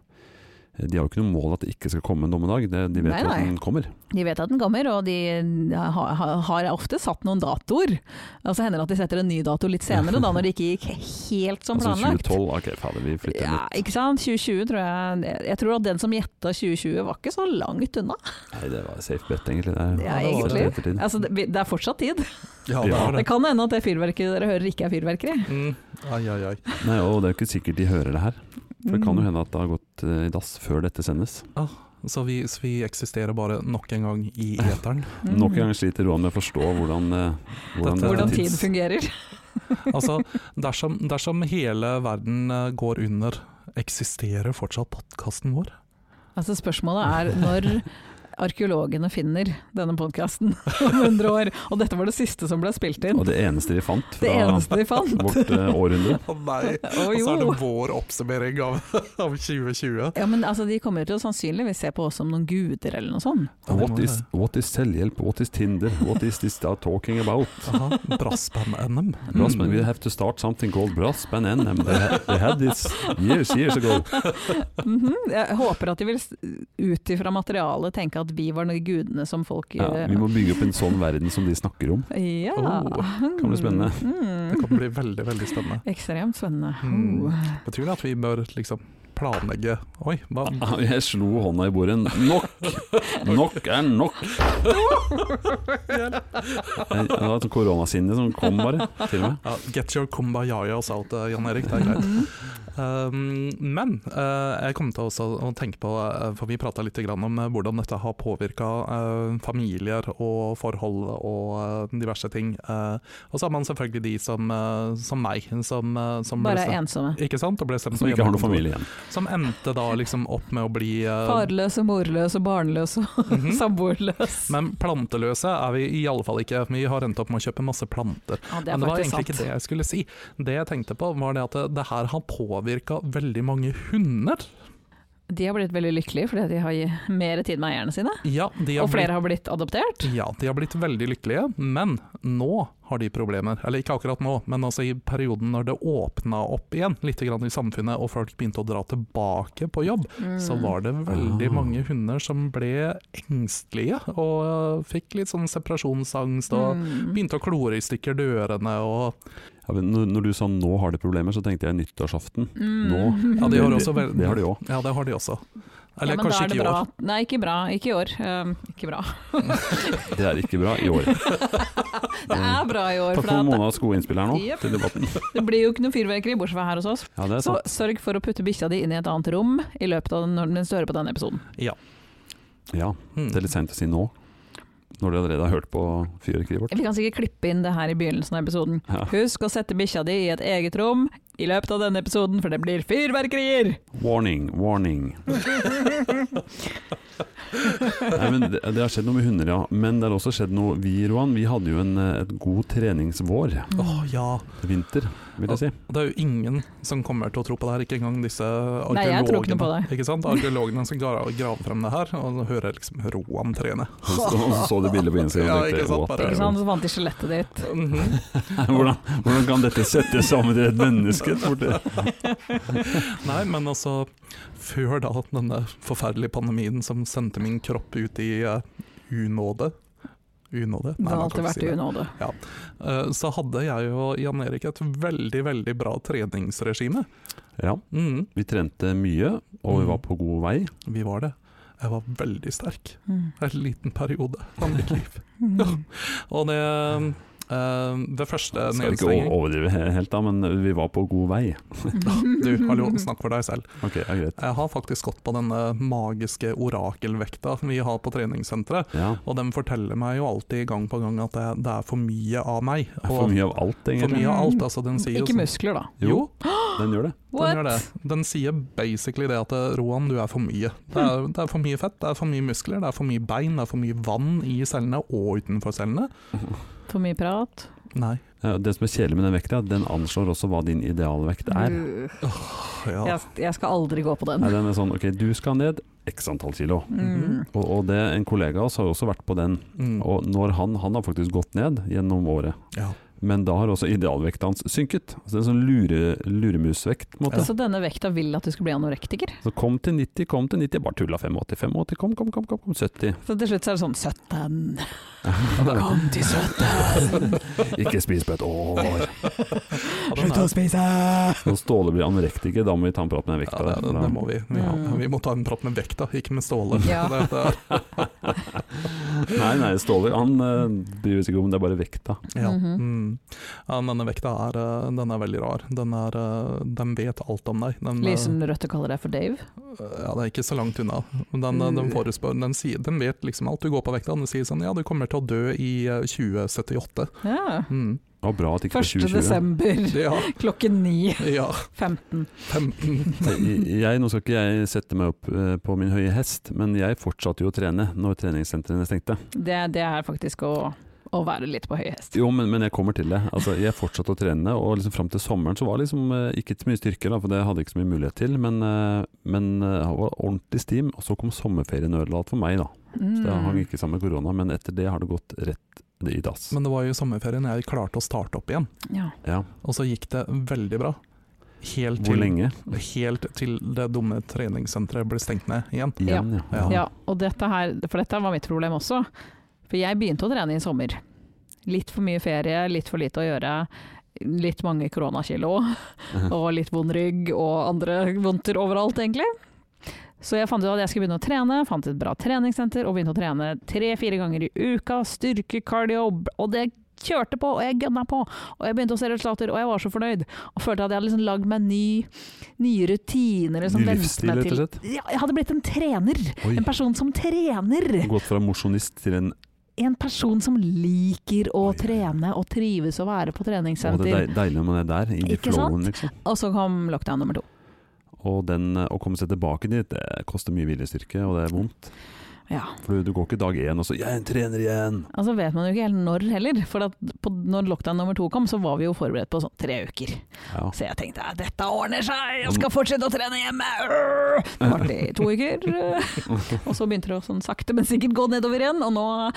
B: de har jo ikke noe mål at det ikke skal komme en dommedag, Det- de vet
A: Nei,
B: jo at
A: nei.
B: den kommer.
A: De vet at den kommer, og de har, har- har ofte satt noen datoer. Og så hender det at de setter en ny dato litt senere, da, når det ikke gikk helt som
B: Altså
A: planlagt.
B: 2012, ok fader, vi flytter den
A: Ja, ikke sant? 2020 tror jeg Jeg tror at den som gjetta 2020 var ikke så langt unna.
B: ut. Nei, det var safe bet, egentlig. Det
A: Ja,
B: er,
C: Ja, det var
A: egentlig.
B: det. Ettertid.
A: Altså, det, vi- det er fortsatt tid.
C: Ja,
B: det er
A: Det kan hende at det fyrverkeriet dere hører ikke er fyrverkeri.
C: Mm. Ai, ai, ai.
B: Nei, og det er jo ikke sikkert de hører det her. For det kan jo
A: Mm.
B: hende at det har gått eh, i dass før dette sendes.
C: Så vi, så vi eksisterer bare nok en gang i eteren.
A: Mm.
B: Nok en gang sliter Roan med å forstå hvordan, eh, hvordan,
C: Dette-
A: Hvordan
B: eh,
A: tid fungerer.
C: Altså, dersom, dersom hele verden eh, går under, eksisterer fortsatt podkasten vår?
A: Altså Spørsmålet er når arkeologene finner denne podkasten om 100 år. Og dette var det siste som ble spilt inn.
B: Og det eneste de fant
A: Det
B: fra
A: eneste de fant.
B: vårt eh, århundre.
C: Å nei!
A: Å jo.
C: vår oppsummering av, 2020.
A: Ja, men altså, De kommer jo til å sannsynligvis se på oss som noen guder eller noe sånt.
B: What is, what is selvhjelp? What is Tinder? What is this they are talking about?
C: Brassband-NM.
B: Brassband,
C: Mm.
B: we have to start something called Brassband NM. They, ha- they had this years, years ago.
A: Mhm. Jeg håper at de vil, s- ut ifra materialet, tenke at vi var de gudene som folk eh,
B: Ja, vi må bygge opp en sånn verden som de snakker om.
A: Ja.
C: Oh,
B: kan bli spennende.
A: Mhm.
C: Det kan bli veldig, veldig spennende.
A: Ekstremt spennende.
C: Mm.
B: Hmm.
A: Oh.
C: Betyr det at vi bør liksom planlegge Oi, hva
B: Jeg slo hånda i bordet. Nok! Nok er nok! Jeg- Det var et sånt koronasinne som kom bare, til og med.
C: ja, Get your kumbayayas out, eh, Jan Erik. Det er greit.
A: Mm.
C: Um, men eh, jeg kom til også å tenke på, eh, for vi prata litt grann om eh, hvordan dette har påvirka familier og forhold og eh, diverse ting. Eh, og så har man selvfølgelig de som, eh, som meg, som, eh, som ble
A: Bare er
C: stemt-
A: ensomme.
C: Ikke sant? Og ble stemt
B: Som
C: på
B: ikke har noen
C: hjemmekontor.
B: familie igjen.
C: Som endte da liksom opp med å bli eh,
A: Farløse, morløse, barnløse og
B: Hmm.
C: mhm.
A: samboerløse.
C: Men planteløse er vi i alle fall ikke. Vi har endt opp med å kjøpe masse planter.
A: Ja, det er
C: Men det var
A: faktisk
C: egentlig
A: sant.
C: ikke det jeg skulle si. Det jeg tenkte på, var det at det, det her har påvirka veldig mange hunder.
A: De har blitt veldig lykkelige fordi de har gi- mer tid med eierne sine.
C: Ja, de har
A: Og flere har blitt adoptert.
C: Blitt, ja, de har blitt veldig lykkelige, men nå har de problemer. Eller ikke akkurat nå, men altså i perioden når det åpna opp igjen litt grann i samfunnet og folk begynte å dra tilbake på jobb,
A: Mm.
C: så var det veldig
B: Ah.
C: mange hunder som ble engstelige og øh, fikk litt sånn separasjonsangst og
A: Mm.
C: begynte å klore i stykker dørene og
B: Ja, men når når du sa 'nå har de problemer', så tenkte jeg nyttårsaften.
A: Mm.
B: Nå.
C: Ja, de har
B: Det-
C: også vel-
B: Det har de òg.
C: Ja, det har de også. Eller
A: ja, men da
C: kanskje
A: er det
C: ikke i
A: bra.
C: år.
A: Nei, ikke bra. Ikke i år. Um, ikke bra.
B: Det er ikke bra i år.
A: Det
C: Mm.
A: er bra i år.
B: Takk
A: For
B: for
A: det,
B: Monas gode innspill her nå
A: Jep.
B: til debatten.
A: det blir jo ikke noe fyrverkeri bortsett fra her hos oss.
B: Ja, det er
A: Så
B: sant.
A: sørg for å putte bikkja di inn i et annet rom i løpet av den, når den hører på denne episoden.
B: Ja,
C: Mm.
B: det er litt seint å si nå, når du allerede har hørt på fyrverkeriet vårt.
A: Vi kan sikkert klippe inn det her i begynnelsen av episoden.
B: Ja.
A: Husk å sette bikkja di i et eget rom i løpet av denne episoden, for det blir fyrverkerier!
B: Warning, warning. Nei, men det, det har skjedd noe med hunder, ja. Men det har også skjedd noe Vi, Roan, vi hadde jo en eh, et god treningsvår.
C: Åh, ja.
B: Vinter, vil jeg si.
C: Det er jo ingen som kommer til å tro på det her, ikke engang disse arkeologene.
A: Nei, jeg tror ikke noe på det.
C: Ikke sant? Arkeologene som gra- graver frem det her, og hører liksom Roan trene.
B: Og så, og så det bildet på Instagram.
C: Ja,
B: og tenkte,
C: ikke sant,
B: «Å,
C: bare-
B: det er
A: Ikke
B: jo-
A: sant? Så fant de skjelettet ditt.
C: Mhm.
B: hvordan, hvordan kan dette settes sammen til et menneske? tror du?
C: Nei, men altså Før da denne forferdelige pandemien som sendte min kropp ut i eh, unåde Unåde?
A: Det har
C: man
A: alltid
C: kan ikke
A: vært
C: si
A: i
C: det.
A: unåde.
C: Eh, Så hadde jeg og Jan Erik et veldig, veldig bra treningsregime.
B: Ja,
C: Mhm,
B: vi trente mye, og vi var på god vei.
C: vi var det. Jeg var veldig sterk.
A: Mm.
C: En liten periode av mitt liv. Og det eh, Ved første
B: Skal ikke o-
C: nedstenging
B: overdrive he- helt, da, men vi var på god vei.
C: Du, hallo, snakk for deg selv.
B: Ok, ja, greit.
C: Jeg har faktisk gått på denne magiske orakelvekta vi har på treningssenteret.
B: Ja.
C: Og den forteller meg jo alltid gang på gang at det, det er for mye av meg.
B: Det er
C: Og
B: For mye av alt,
C: for
B: egentlig.
C: mye av alt. Altså, den sier jo
A: Ikke
C: sånn-
A: muskler, da.
B: Jo, den gjør det.
C: Den, gjør
A: What?
C: det. den sier basically det at eh, Roan, du er for mye. Det er, det er for mye fett, det er for mye muskler, det er for mye bein, det er for mye vann i cellene og utenfor cellene.
A: For mye prat?
C: Nei.
B: Ja, Det som er kjedelig med den vekta, er at den anslår også hva din idealvekt er.
C: Mm. Ja.
A: Jeg, jeg skal aldri gå på den.
B: Nei, den er sånn, ok, du skal ned x antall kilo.
A: Mm.
B: Og, og det, en kollega av oss har jo også vært på den.
C: Mm.
B: Og når han, han har faktisk gått ned gjennom året,
C: ja.
B: men da har også idealvekta hans synket. Så det er en sånn lure, luremusvekt. på en Måte.
A: Så denne vekta vil at du skal bli anorektiker?
B: Så kom til 90, kom til 90, bare tulla 85, 85, kom, kom, kom, kom, kom 70.
A: Så til slutt så er det sånn 17. Kom til 17!
B: Ikke spis på et år.
C: Ja, den er,
A: spise!
B: Når Ståle blir anorektiker, da må vi ta en prat med den
C: ja,
B: vekta.
C: det,
B: der,
C: det,
B: for
C: det
B: da-
C: må vi. Vi,
A: Mm.
C: vi må ta en prat med vekta, ikke med Ståle.
A: Ja.
C: Det, det er,
B: Nei, nei, Ståle han eh, bryr seg ikke om det, er bare vekta.
C: Ja.
A: Mhm.
C: Mm. ja, men denne vekta er, eh, den er veldig rar. Den, er, eh, den vet alt om deg. Den, eh,
A: Lysenrødte kaller deg for Dave.
C: Ja, det er ikke så langt unna. Den, eh,
B: Mm.
C: den, forespør, den, sier, den vet liksom alt. Du går på vekta, og den sier sånn Ja, du kommer til å dø i eh, 2078.
A: Ja.
C: Mm.
B: Det var bra at ikke
A: 1.
B: det var 2020.
A: desember
C: Ja,
A: klokken 9.15.
C: ja. 15.
B: Jeg, jeg- nå skal ikke jeg sette meg opp eh, på min høye hest, men jeg fortsatte jo å trene når treningssentrene stengte.
A: Det, det er faktisk å, å være litt på høy hest.
B: Jo, men, men jeg kommer til det. Altså, jeg fortsatte å trene, og liksom fram til sommeren så var det liksom eh, ikke så mye styrke, da, for det hadde jeg ikke så mye mulighet til, men, eh, men eh, jeg var ordentlig stim, og så kom sommerferien og ødela alt for meg, da. Så det
A: Mm.
B: hang ikke sammen med korona, men etter det har det gått rett i dass.
C: Men det var jo i sommerferien jeg klarte å starte opp igjen,
A: Mm. Ja.
B: Ja,
C: og så gikk det veldig bra. Helt
B: hvor
C: til,
B: lenge?
C: helt til det dumme treningssenteret ble stengt ned igjen.
B: Igjen, ja.
C: Ja.
A: ja, og dette her, for dette var mitt problem også. For jeg begynte å trene i sommer. Litt for mye ferie, litt for lite å gjøre. Litt mange koronakilo, og litt vond rygg og andre vondter overalt, egentlig. Så jeg fant ut at jeg skulle begynne å trene, fant et bra treningssenter og begynte å trene tre-fire ganger i uka. Styrke, cardio, og det kjørte på, og jeg gønna på. Og jeg begynte å se resultater, og jeg var så fornøyd. Og følte at jeg hadde liksom lagd meg ny, nye rutiner. Liksom,
B: Ny
A: vent
B: livsstil,
A: meg
B: rett og
A: til-
B: slett.
A: Ja, jeg hadde blitt en trener.
B: Oi.
A: En person som trener.
B: Gått fra mosjonist til en
A: En person som liker å
B: Oi, oi.
A: trene og trives å være på
B: Å, det er
A: treningssenter.
B: deil- deilig når man er der, i
A: Ikke sant?
B: flowen, liksom.
A: Og så kom lockdown nummer to.
B: Og den, eh, å komme seg tilbake dit, det koster mye viljestyrke, og det er vondt.
A: Ja.
B: For du- du går ikke dag én og så 'jeg er en trener igjen'.
A: Altså vet man jo ikke helt når heller. For at på, når lockdown nummer to kom, så var vi jo forberedt på sånn tre uker.
B: Ja.
A: Så jeg tenkte "Ja, dette ordner seg, jeg skal fortsette å trene hjemme! Øh! Det var det i to uker. og så begynte det å sånn sakte, men sikkert gå nedover igjen. Og nå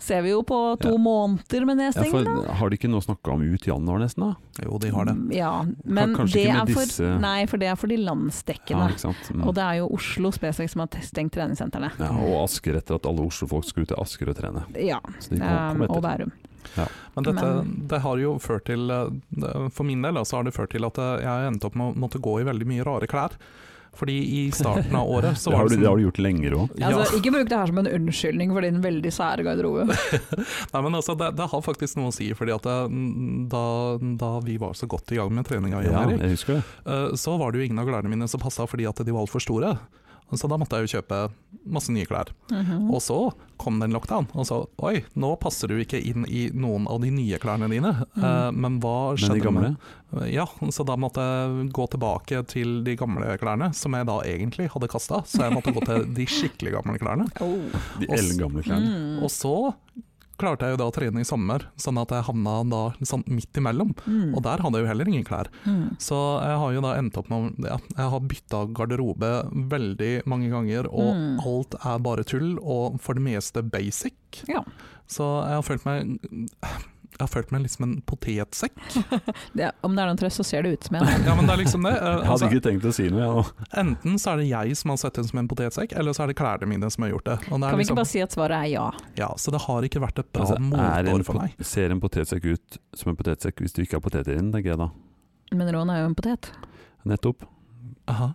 A: ser vi jo på to
B: Ja.
A: måneder med
B: Ja,
A: nedstengning.
B: for, har de ikke nå snakka om ut januar, nesten? da?
C: Jo, de har det.
A: Ja, men
B: kanskje
A: det
B: ikke med
A: er for,
B: disse-
A: nei, for det er for de landsdekkende.
B: Ja, ikke sant? Mm.
A: Og det er jo Oslo spesifikt som har stengt treningssentrene.
B: ja, og Asker etter at alle Oslo-folk skulle til Asker og trene.
A: Ja,
B: Så de
A: eh,
B: kom, kom
A: og
B: etter.
A: Bærum.
C: Men dette,
A: Men-
C: det har jo ført til eh, det- For min del da, så har det ført til at eh, jeg endte opp med å måtte gå i veldig mye rare klær. Fordi i starten av året så
B: Det
C: var
B: har,
C: det
B: du,
C: sånn-
B: det har du gjort lenger òg.
C: Ja.
A: Altså, ikke bruk det her som en unnskyldning for din veldig sære garderobe.
C: Nei, men altså, det, det har faktisk noe å si, fordi at det, da, da vi var så godt i gang med treninga, Jan
B: Ja,
C: Erik,
B: jeg husker det.
C: Eh, så var det jo ingen av klærne mine som passa fordi at de var altfor store. Så da måtte jeg jo kjøpe masse nye klær.
A: Mhm.
C: Og så kom det en lockdown, og så oi, nå passer du ikke inn i noen av de nye klærne dine. Eh,
B: Mm.
C: Men hva
B: Men
C: skjedde
B: de gamle?
C: med Ja, så da måtte jeg gå tilbake til de gamle klærne, som jeg da egentlig hadde kasta. Så jeg måtte gå til de skikkelig gamle klærne.
A: Oh,
B: De
C: Oss- Mm.
B: eldgamle klærne.
A: mm,
C: Og så klarte jeg jo da å trene i sommer, sånn at jeg havna da sånn midt imellom.
A: Mm.
C: Og der hadde jeg jo heller ingen klær.
A: Mm.
C: Så jeg har jo da endt opp med ja, Jeg har bytta garderobe veldig mange ganger, og
A: Mm.
C: alt er bare tull, og for det meste basic.
A: Ja.
C: Så jeg har følt meg jeg har følt meg litt som en potetsekk.
A: Det, om det er noen trøst, så ser det ut som en.
C: Ja, men det er liksom det. Eh,
B: Jeg
C: Altså,
B: hadde ikke tenkt å si noe, jeg. nå.
C: enten så er det jeg som har sett ut som en potetsekk, eller så er det klærne mine som har gjort det. Og det er
A: Kan vi ikke
C: liksom,
A: bare si at svaret er ja?
C: ja, så det har ikke vært et bra
B: Altså, er en
C: motår for
B: pot-
C: meg.
B: ser en potetsekk ut som en potetsekk hvis du ikke har poteter i den, tenker jeg da.
A: Men Ron er jo en potet.
B: Nettopp.
C: Aha.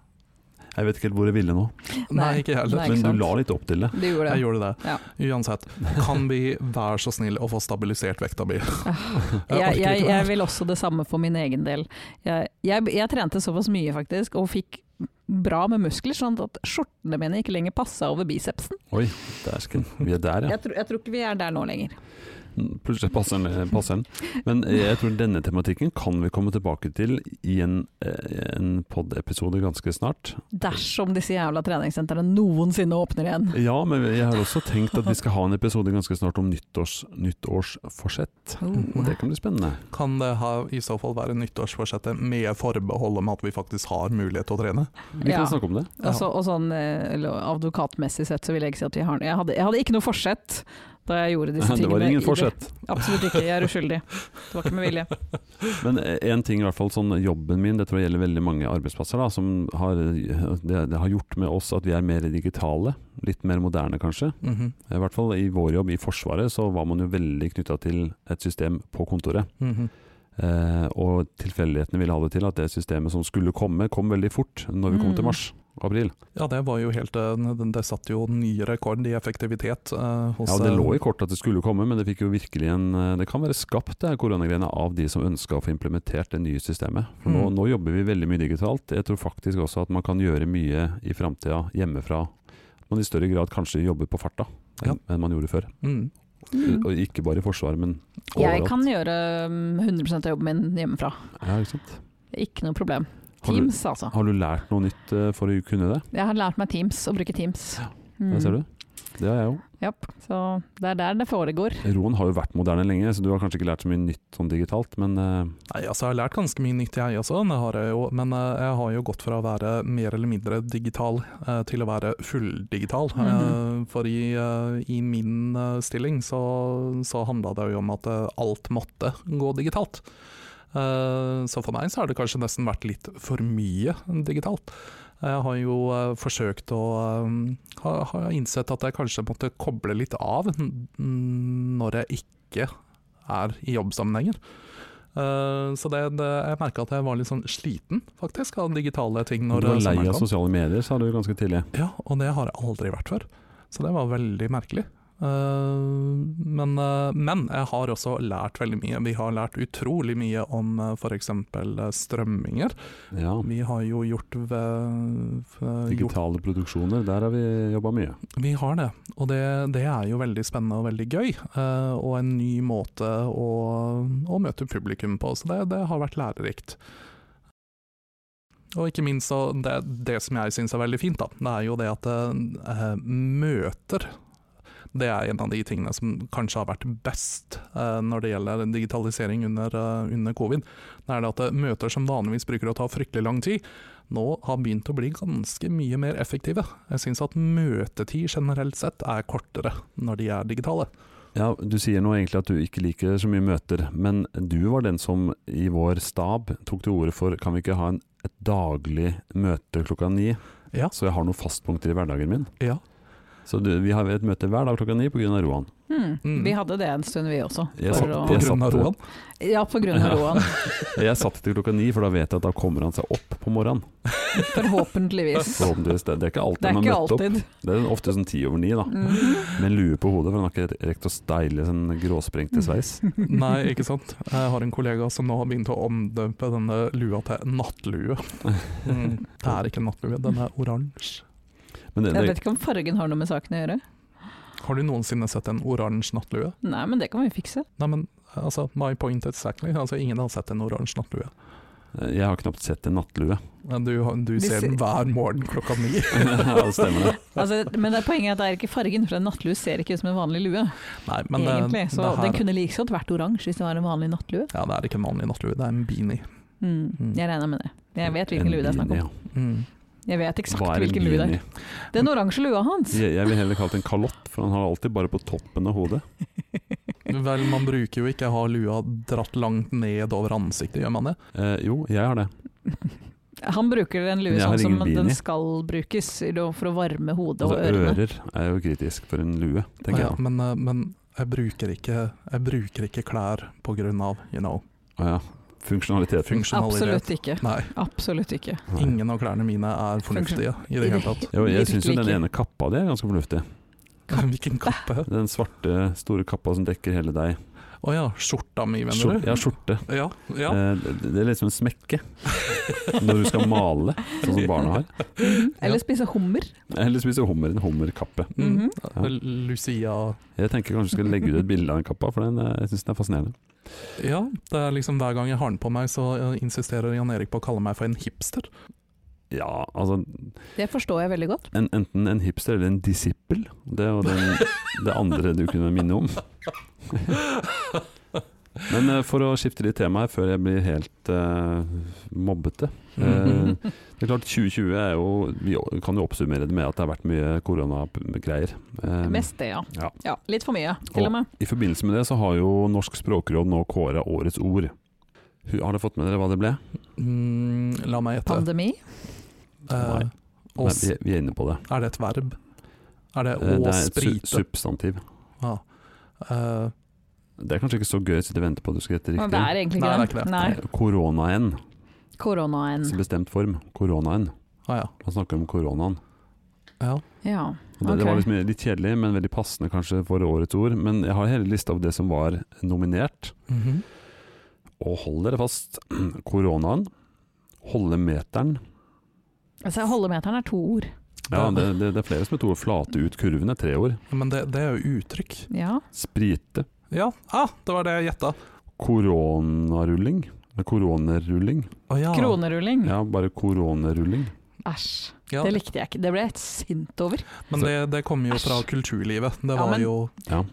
B: Jeg vet ikke helt hvor jeg ville nå,
C: Nei,
A: Nei.
C: ikke jeg heller.
A: Nei, ikke
B: men du
A: sant.
B: la litt opp til det.
A: Det gjorde
C: Jeg
A: det.
C: gjorde det. Uansett, kan vi være så snill å få stabilisert vekta mi?
A: Jeg, jeg,
C: orker
A: jeg,
C: ikke mer.
A: vil også det samme for min egen del. Jeg, jeg, jeg trente såpass mye faktisk, og fikk bra med muskler, sånn at skjortene mine ikke lenger passa over bicepsen.
B: Oi, dæsken. Vi er der, ja. Mm,
A: Jeg, tror- jeg tror ikke vi er der nå lenger.
B: Plutselig passer den. Passer den. Men eh, jeg tror denne tematikken kan vi komme tilbake til i en, eh, en pod-episode ganske snart.
A: Dersom disse jævla treningssentrene noensinne åpner igjen.
B: Ja, men jeg har også tenkt at vi skal ha en episode ganske snart om nyttårs, nyttårsforsett. Og det kan bli spennende.
C: Kan det ha, i så fall være nyttårsforsettet med forbehold om at vi faktisk har mulighet til å trene?
B: Vi
A: Ja.
B: kan snakke om det.
A: Og så- og sånn, eh, eller advokatmessig sett så vil jeg ikke si at vi har Jeg hadde, jeg hadde ikke noe forsett da jeg gjorde disse tingene.
B: Det var
A: i
B: ingen forsett.
A: Absolutt ikke, jeg er uskyldig. Det var ikke med vilje.
B: Men én ting i hvert fall, sånn jobben min, det tror jeg gjelder veldig mange arbeidsplasser, da, som har, eh, det, det har gjort med oss at vi er mer digitale. Litt mer moderne, kanskje.
C: Mhm,
B: Eh, I hvert fall i vår jobb i Forsvaret, så var man jo veldig knytta til et system på kontoret.
C: mhm.
B: Eh, og tilfeldighetene ville ha det til at det systemet som skulle komme, kom veldig fort når vi kom
A: Mm.
B: til mars. April.
C: Ja, det var jo helt eh, Det det satt jo ny rekord i effektivitet eh, hos
B: Ja, Det lå
C: eh,
B: i kortet at det skulle komme, men det fikk jo virkelig en eh, Det kan være skapt det her koronagreiene av de som ønska å få implementert det nye systemet. For nå,
C: Mm.
B: nå jobber vi veldig mye digitalt. Jeg tror faktisk også at man kan gjøre mye i framtida hjemmefra. At man i større grad kanskje jobber på farta
C: Ja.
B: enn enn man gjorde før.
C: mm.
B: Og ikke bare i Forsvaret, men
A: Jeg
B: overalt.
A: kan gjøre um, 100 av jobben min hjemmefra.
B: Ja, ikke sant?
A: Ikke noe problem.
B: Har du,
A: Teams, altså.
B: har du lært noe nytt eh, for å kunne det?
A: Jeg har lært meg Teams, å bruke Teams.
B: Det ser du. Det har jeg òg.
A: Japp, så det er der det foregår.
B: Roen har jo vært moderne lenge, så du har kanskje ikke lært så mye nytt sånn digitalt, men eh,
C: Nei, altså, jeg har lært ganske mye nytt, jeg også, det har jeg jo, men eh, jeg har jo gått fra å være mer eller mindre digital eh, til å være fulldigital. Eh,
A: Mhm.
C: For i, eh, i min eh, stilling så, så handla det jo om at eh, alt måtte gå digitalt. Eh, Så for meg så har det kanskje nesten vært litt for mye digitalt. Jeg har jo eh, forsøkt å eh, ha- har innsett at jeg kanskje måtte koble litt av n- når jeg ikke er i jobbsammenhenger. Eh, Så det, det, jeg merka at jeg var litt sånn sliten faktisk av digitale ting. Når
B: du var
C: eh,
B: lei
C: sommeren
B: av
C: kom.
B: sosiale medier, sa du ganske tidlig.
C: Ja, og det har jeg aldri vært før. Så det var veldig merkelig. Eh, men, eh, men jeg har også lært veldig mye. Vi har lært utrolig mye om eh, for f.eks. strømminger.
B: Ja.
C: Vi har jo gjort, ve- f- gjort
B: Digitale produksjoner, der har vi jobba mye.
C: Vi har det, og det, det er jo veldig spennende og veldig gøy. eh, og en ny måte å, å møte publikum på, så det, det har vært lærerikt. Og ikke minst så det, det som jeg syns er veldig fint, da, det er jo det at eh, møter det er en av de tingene som kanskje har vært best eh, når det gjelder digitalisering under, eh, under covid. Det er det at eh, møter som vanligvis bruker å ta fryktelig lang tid, nå har begynt å bli ganske mye mer effektive. Jeg syns at møtetid generelt sett er kortere når de er digitale.
B: Ja, Du sier nå egentlig at du ikke liker så mye møter, men du var den som i vår stab tok til orde for kan vi ikke ha en, et daglig møte klokka ni,
C: Ja.
B: så jeg har noen fastpunkter i hverdagen min.
C: Ja.
B: Så du, vi har et møte hver dag klokka ni pga. Roan.
A: Hmm.
C: Mm.
A: Vi hadde det en stund, vi også.
B: Jeg
A: for
B: satt-
A: å-
B: jeg
C: På grunn av
B: satt-
C: Roan.
A: Ja, på grunn av
B: Ja.
A: Roan.
B: Jeg satt til klokka ni, for da vet jeg at da kommer han seg opp på morgenen.
A: Forhåpentligvis.
B: Forhåpentligvis. Det, det er ikke alltid
A: Det er
B: han
A: ikke
B: har møtt opp.
A: alltid.
B: Det er ofte sånn ti over ni, da.
A: Mhm.
B: Med lue på hodet, for han har ikke rekt å steile sin gråsprengte sånn sveis.
C: Nei, ikke sant. Jeg har en kollega som nå har begynt å omdøpe denne lua til nattlue. Mm. Det er ikke en nattlue, den er oransje.
B: Men det,
A: Jeg
B: det,
A: vet ikke om fargen har noe med saken å gjøre.
C: Har du noensinne sett en oransje nattlue?
A: Nei, men det kan vi fikse.
C: Nei, men altså, my point exactly. Altså, ingen har sett en oransje nattlue.
B: jeg har knapt sett en nattlue.
C: Men Du, har- du
A: Vi
C: ser
A: ser-
C: den hver morgen klokka ni.
B: Ja, det stemmer det.
A: Altså, men det er poenget er at det er ikke fargen, for en nattlue ser ikke ut som en vanlig lue.
C: Nei, men det,
A: egentlig, så
C: det her,
A: Den kunne like godt vært oransje hvis det var en vanlig nattlue.
C: Ja, det er ikke en vanlig nattlue, det er en beanie.
A: Mm.
C: Mm.
A: Jeg regner med det. Jeg vet
B: En
A: hvilken lue det er snakk
B: beanie,
A: om.
B: ja.
C: Mm.
A: Jeg vet
B: Hva
A: eksakt
B: er en
A: hvilken lue det er.
B: beanie?
A: Den oransje lua hans!
B: Jeg, jeg vil heller kalle det en kalott, for han har alltid bare på toppen av hodet.
C: Vel, man bruker jo ikke å ha lua dratt langt ned over ansiktet, gjør man det?
B: Eh, jo, jeg har det.
A: Han bruker en lue
B: Jeg har
A: sånn som
B: ingen beanie.
A: den skal brukes i det- for å varme hodet og
B: Altså,
A: ørene.
B: ører er jo kritisk for en lue, tenker
C: Ja,
B: jeg.
C: Men, eh, men jeg, bruker ikke, jeg bruker ikke klær på grunn av, you know,
B: Å ja. Funksjonalitet.
C: funksjonalitet.
A: Absolutt ikke.
C: Nei,
A: Absolutt ikke.
B: Nei.
C: ingen av klærne mine er fornuftige i det hele tatt.
B: Jo, jeg syns jo den
A: Virkelig ikke.
B: ene kappa di er ganske fornuftig.
C: Hvilken kappe?
B: Den svarte, store kappa som dekker hele deg.
C: Å ja, skjorta mi, mener
B: Skjorte,
C: du?
B: ja, skjorte.
C: Ja, ja.
B: Eh, det- det er liksom en smekke når du skal male, Eh, sånn som barna har.
A: Mhm. Eller spise hummer.
B: Eller spise hummer, en hummerkappe.
C: Mm.
A: Mhm.
C: Lucia
B: Jeg tenker kanskje jeg skal legge ut et bilde av den kappa, for den, eh, jeg syns den er fascinerende.
C: Ja, det er liksom hver gang jeg har den på meg, så eh, insisterer Jan Erik på å kalle meg for en hipster.
B: Ja, altså
A: Det forstår jeg veldig godt.
B: en, Enten en hipster eller en disippel. Det er jo den, det andre du kunne minne om. Men eh, for å skifte litt tema her, før jeg blir helt eh, mobbete Eh,
C: Mm.
B: Det er klart 2020 er jo Vi kan jo oppsummere det med at det har vært mye koronagreier. Eh,
A: Mest det, ja.
B: Ja.
A: ja. Litt for mye, til
B: Og-
A: og med.
B: I forbindelse med det så har jo Norsk språkråd nå kåra årets ord. Hu- Har dere fått med dere hva det ble?
C: Mm, la meg gjette.
A: Pandemi.
C: Eh,
B: Nei. Nei,
C: oss,
B: vi, vi er inne på det.
C: er det et verb? Er det
B: Eh,
C: å
B: Det er et su-
C: sprite?
B: substantiv.
C: Ja. Eh,
B: Det er kanskje ikke så gøy å sitte og vente på at du skal gjette
A: Men det
B: riktig.
A: er egentlig
C: Nei, det er
A: ikke
C: ikke
A: det.
C: det.
A: Nei.
B: Koronaen,
A: Koronaen.
B: i bestemt form. Koronaen.
C: ah, ja.
B: Man snakker om koronaen.
C: ja.
A: Ja.
B: Og Det, det var
A: Ok.
B: liksom litt kjedelig, men veldig passende kanskje for årets ord. Men jeg har hele lista av det som var nominert.
C: Mhm.
B: Og hold dere fast. Koronaen. Holde meteren.
A: Altså, holdemeteren er to ord.
B: Ja, det, det, det er flere som er to ord. Flate ut kurven er tre ord.
C: Men det, det er jo uttrykk.
A: Ja.
B: Sprite.
C: Ja, ah, det var det jeg gjetta.
B: Koronarulling. Eller Koronerulling.
C: Å ja.
A: Kronerulling.
B: Ja, bare koronerulling.
A: Æsj.
C: Ja,
A: Det likte jeg ikke. Det ble jeg sint over.
C: men det, det kommer jo fra
A: Æsj.
C: kulturlivet. Det
A: Ja,
C: var
A: men-
C: jo
B: Ja.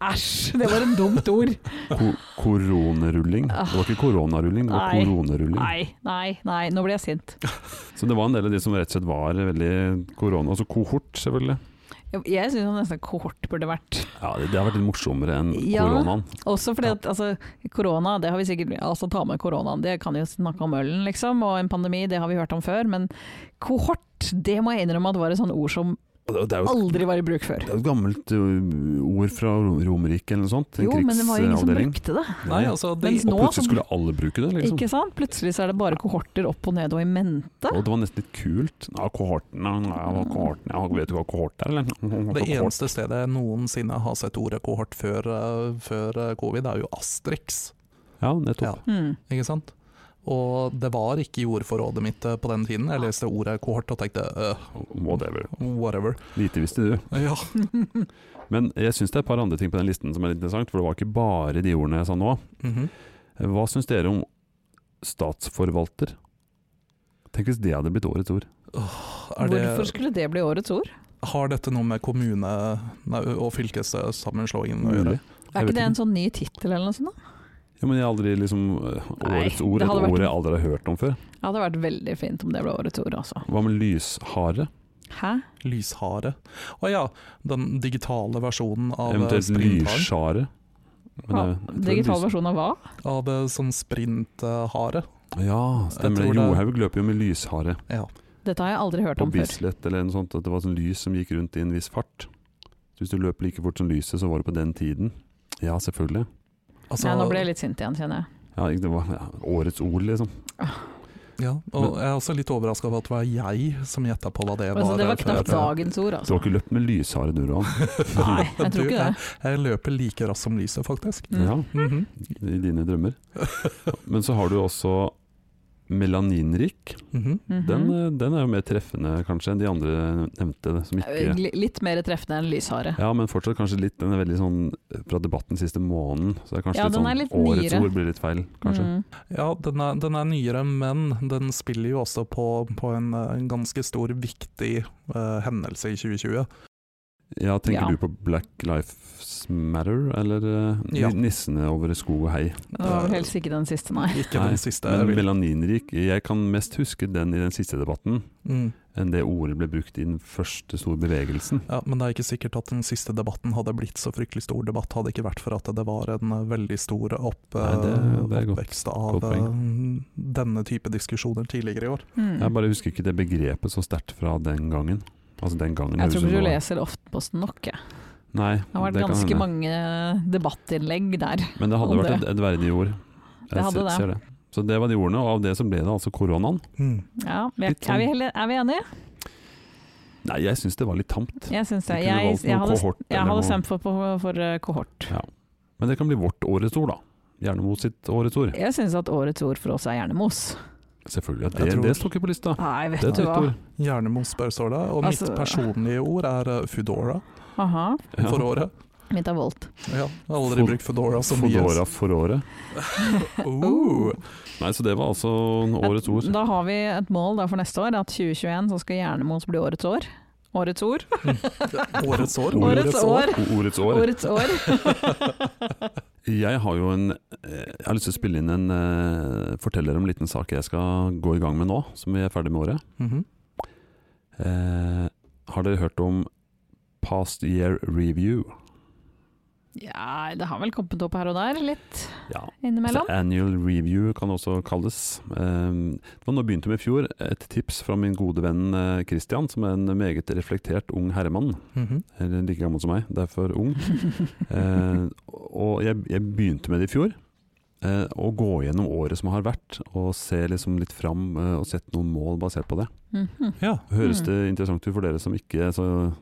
A: Æsj, det var et dumt ord.
B: Ko koronerulling. Det var ikke koronarulling, det var
A: Ah. Nei.
B: koronerulling.
A: Nei, nei, nei. Nå ble jeg sint.
B: Så det var en del av de som rett og slett var veldig korona. Altså kohort, selvfølgelig.
A: Jeg- Jeg syns nesten kohort burde vært.
B: Ja, Det, det har vært litt morsommere enn
A: Ja.
B: koronaen.
A: Også fordi at altså, korona, det har vi sikkert Altså ta med koronaen, det kan jo snakke om ølen, liksom. Og en pandemi, det har vi hørt om før. Men kohort, det må jeg innrømme at var et sånt ord som
B: Og Det, det er jo et,
A: aldri var i bruk før.
B: det er jo et gammelt ø, ord fra Rom- Romerriket eller noe sånt.
A: Jo, men det var jo ingen som
B: krigsavdeling.
A: brukte det.
C: Nei, altså de,
A: Mens
B: Og
A: nå
B: plutselig
A: som-
B: skulle alle bruke det, liksom.
A: Ikke sant? Plutselig så er det bare kohorter opp og ned og i mente.
B: Og det var nesten litt kult. Ja, kohorten, ja, ja, kohorten ja, Vet du hva kohort er, eller?
C: Det
B: Kohort.
C: eneste stedet jeg noensinne har sett ordet kohort før, eh, før eh, covid, er jo Astrix.
B: Ja, nettopp.
A: Hmm.
C: Ikke sant? Og det var ikke i ordforrådet mitt eh, på den tiden. Jeg leste ordet kohort og tenkte øh,
B: Whatever.
C: whatever.
B: Lite visste du.
C: Ja.
B: Men jeg syns det er et par andre ting på den listen som er litt interessant, for det var ikke bare de ordene jeg sa nå.
C: Mhm.
B: Hva syns dere om statsforvalter? Tenk hvis det hadde blitt årets ord.
C: er
A: Hvorfor
C: det,
A: skulle det bli årets ord?
C: har dette noe med kommune nei, og fylkessammenslåingen å gjøre?
B: Mulig.
A: Er
B: vet
A: ikke det
B: ikke.
A: en sånn ny tittel eller noe sånt? da?
B: Ja, men jeg har aldri liksom øh,
A: Nei,
B: Årets ord,
A: det
B: et
A: hadde vært-
B: ord jeg aldri har hørt om før.
A: Det hadde vært veldig fint om det ble årets ord, altså.
B: Hva med lyshare?
A: Hæ?
C: Lyshare. Å ja, den digitale versjonen av eh,
B: Eventuelt
C: sprintharen.
B: lyshare.
A: Hva?
B: Men, det- jeg tror
A: Digital
B: lys-
A: versjon av hva?
C: Av eh, sånn sprinthare.
B: Ja, stemmer
C: Jeg
B: det.
C: tror det-
B: Johaug løper jo med lyshare
C: Ja.
A: Dette har jeg aldri hørt
B: på
A: om før.
B: Bislett eller noe sånt. At det var sånn lys som gikk rundt i en viss fart. Så hvis du løp like fort som lyset, så var du på den tiden. Ja, selvfølgelig.
C: Altså,
A: Nei, nå ble jeg litt sint igjen, kjenner jeg.
B: Ja, ikke- det var ja, årets ord, liksom.
C: ja, og jeg er også litt overraska over at det var jeg som gjetta på hva det var.
A: Altså, det var
C: før jeg-
A: knapt dagens ord,
B: Du har
A: altså.
B: ikke løpt med lyshare, du, Roan.
A: Nei, jeg tror
C: Du,
A: ikke det.
C: Jeg løper like raskt som lyset, faktisk.
A: Mm.
B: Ja,
C: Mhm.
B: I dine drømmer. Men så har du også melaninrik.
C: Mhm.
A: Mhm.
B: Den, eh, den er jo mer treffende kanskje enn de andre nevnte. Som ikke,
A: Li- Litt mer treffende enn lyshare.
B: ja, men fortsatt kanskje litt Den er veldig sånn eh, fra debatten siste måneden. Så det er kanskje
A: Ja,
B: litt
A: den
B: sånn
A: er litt
B: Årets
A: nyere.
B: ord blir litt feil, kanskje.
A: Mm.
C: Ja, den er, den er nyere, men den spiller jo også på, på en, eh, en ganske stor, viktig eh, hendelse i 2020.
B: Ja, tenker
A: Ja.
B: du på Black Lives Matter, eller eh, ni-
C: Ja.
B: Nissene over skog og hei?
A: Det var vel helst ikke den siste, nei.
C: Ikke
B: Nei,
C: den siste. jeg
B: Men
C: vil.
B: melaninrik Jeg kan mest huske den i den siste debatten,
C: Mm.
B: enn det ordet ble brukt i den første store bevegelsen.
C: Ja, men det er ikke sikkert at den siste debatten hadde blitt så fryktelig stor debatt, hadde det ikke vært for at det var en eh, veldig stor opp, eh,
B: Nei, det- det er godt-
C: oppvekst
B: godt
C: av eh, denne type diskusjoner tidligere i år.
A: Mm.
B: Jeg bare husker ikke det begrepet så sterkt fra den gangen. Altså den gangen
A: Jeg
B: høres
A: tror ikke
B: ut som
A: du
B: det var-
A: leser Oftposten nok. Jeg.
B: Nei,
A: Det har vært
B: det kan
A: ganske
B: hende.
A: mange debattinnlegg der.
B: Men det hadde
A: om
B: vært et, et verdig ord. Jeg
A: Det hadde
B: ser,
A: det.
B: Ser det. Så det var de ordene, og av det så ble det altså koronaen.
C: Mm.
A: Ja, vi er,
B: Litt sånn-
A: er, vi, heller- er vi enige?
B: Nei, jeg syns det var litt tamt.
A: Jeg syns det.
B: Vi kunne
A: Jeg,
B: valgt noe
A: jeg hadde,
B: kohort eller
A: jeg hadde
B: noe.
A: stemt for, på, for eh, kohort.
B: Men det kan bli vårt årets ord, da. Gjerne mot sitt årets ord.
A: Jeg syns at årets ord for oss er hjernemos.
B: Selvfølgelig.
C: Jeg
B: Det,
C: tror-
B: det står ikke på lista.
A: Nei,
B: Det
A: vet
B: er et
A: du
B: nytt
A: hva.
B: ord.
C: Hjernemos bør står det, og
A: Altså-
C: mitt personlige ord er eh, Foodora
A: Aha,
B: Ja.
C: for året.
A: mitt er voldt.
C: Ja, jeg har aldri
B: Fo-
C: brukt Foodora så mye.
B: Fodora for året.
A: Uh.
C: Oh.
B: Nei, så det var altså årets ord.
A: Da har vi et mål da for neste år, at 2021 så skal hjernemos bli årets år. Årets ord.
C: Årets år.
A: Årets år.
B: O- Årets år.
A: Årets år.
B: Jeg har jo en eh, Jeg har lyst til å spille inn en eh, forteller om en liten sak jeg skal gå i gang med nå, som vi er ferdig med året.
C: Mhm.
B: Eh, har dere hørt om Past Year Review?
A: Ja, det har vel kommet opp her og der, litt
B: Ja.
A: innimellom.
B: Altså, annual review kan også kalles. Ehm, Det var nå begynte med i fjor, et tips fra min gode venn eh, Christian, som er en meget reflektert ung herremann.
C: Mhm.
B: Eller like gammel som meg, derfor ung. Eh, og jeg, jeg begynte med det i fjor. eh, Å gå gjennom året som har vært, og se liksom litt fram eh, og sette noen mål basert på det.
A: Mhm.
C: Ja.
B: Høres
A: Mm.
B: det interessant ut for dere som ikke er så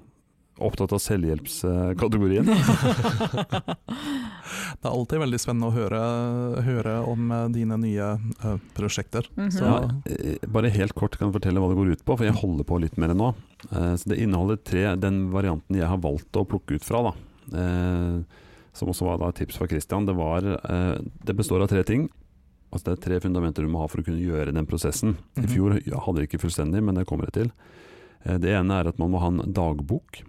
B: opptatt av selvhjelpskategorien?
C: Det er alltid veldig spennende å høre, høre om eh, dine nye eh, prosjekter.
A: Mhm.
C: Så,
B: Ja, eh, bare helt kort kan jeg fortelle hva det går ut på, for jeg holder på litt med det nå. Eh, Så det inneholder tre, den varianten jeg har valgt å plukke ut fra, da. Eh, Som også var da et tips fra Christian. Det, var, eh, det består av tre ting. Altså det er tre fundamenter du må ha for å kunne gjøre den prosessen. I
C: Mhm.
B: fjor ja, hadde jeg ikke fullstendig, men det kommer jeg til. Eh, Det ene er at man må ha en dagbok.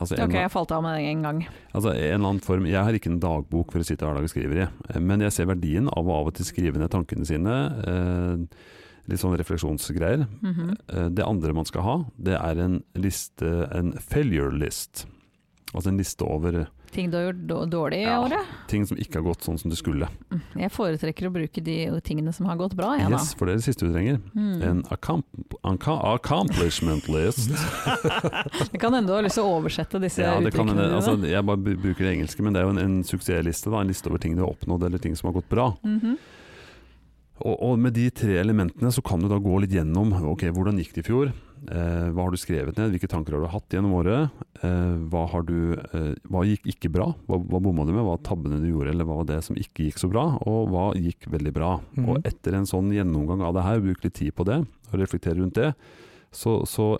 B: Altså en,
A: Ok, jeg falt av med det en gang.
B: altså en eller annen form Jeg har ikke en dagbok for å sitte hver dag og skrive i, eh, men jeg ser verdien av å av og til skrive ned tankene sine. eh, Litt sånn refleksjonsgreier.
A: Mhm.
B: Eh, Det andre man skal ha, det er en liste, en failure list. Altså en liste over
A: Ting du har gjort då- dårlig i
B: Ja.
A: året?
B: ting som ikke har gått sånn som det skulle.
A: Mm, Jeg foretrekker å bruke de tingene som har gått bra, jeg da.
B: Yes, for det er det siste du trenger.
A: Mm.
B: En accom anca accomplishment list.
A: Det kan hende du har lyst til å oversette disse
B: Ja, det kan
A: uttrykkene
B: hende.
A: dine.
B: Altså, jeg bare bu- bruker det engelske, men det er jo en, en suksessliste. Da. En liste over ting du har oppnådd, eller ting som har gått bra.
A: Mhm.
B: Og, og med de tre elementene så kan du da gå litt gjennom ok, hvordan gikk det i fjor. Eh, hva har du skrevet ned, hvilke tanker har du hatt gjennom året? Eh, hva, har du, eh, hva gikk ikke bra? Hva, hva bomma du med? Hva var tabbene du gjorde, eller hva var det som ikke gikk så bra? Og hva gikk veldig bra?
C: Mhm.
B: Og etter en sånn gjennomgang av det her, bruke litt tid på det, og reflektere rundt det, så, så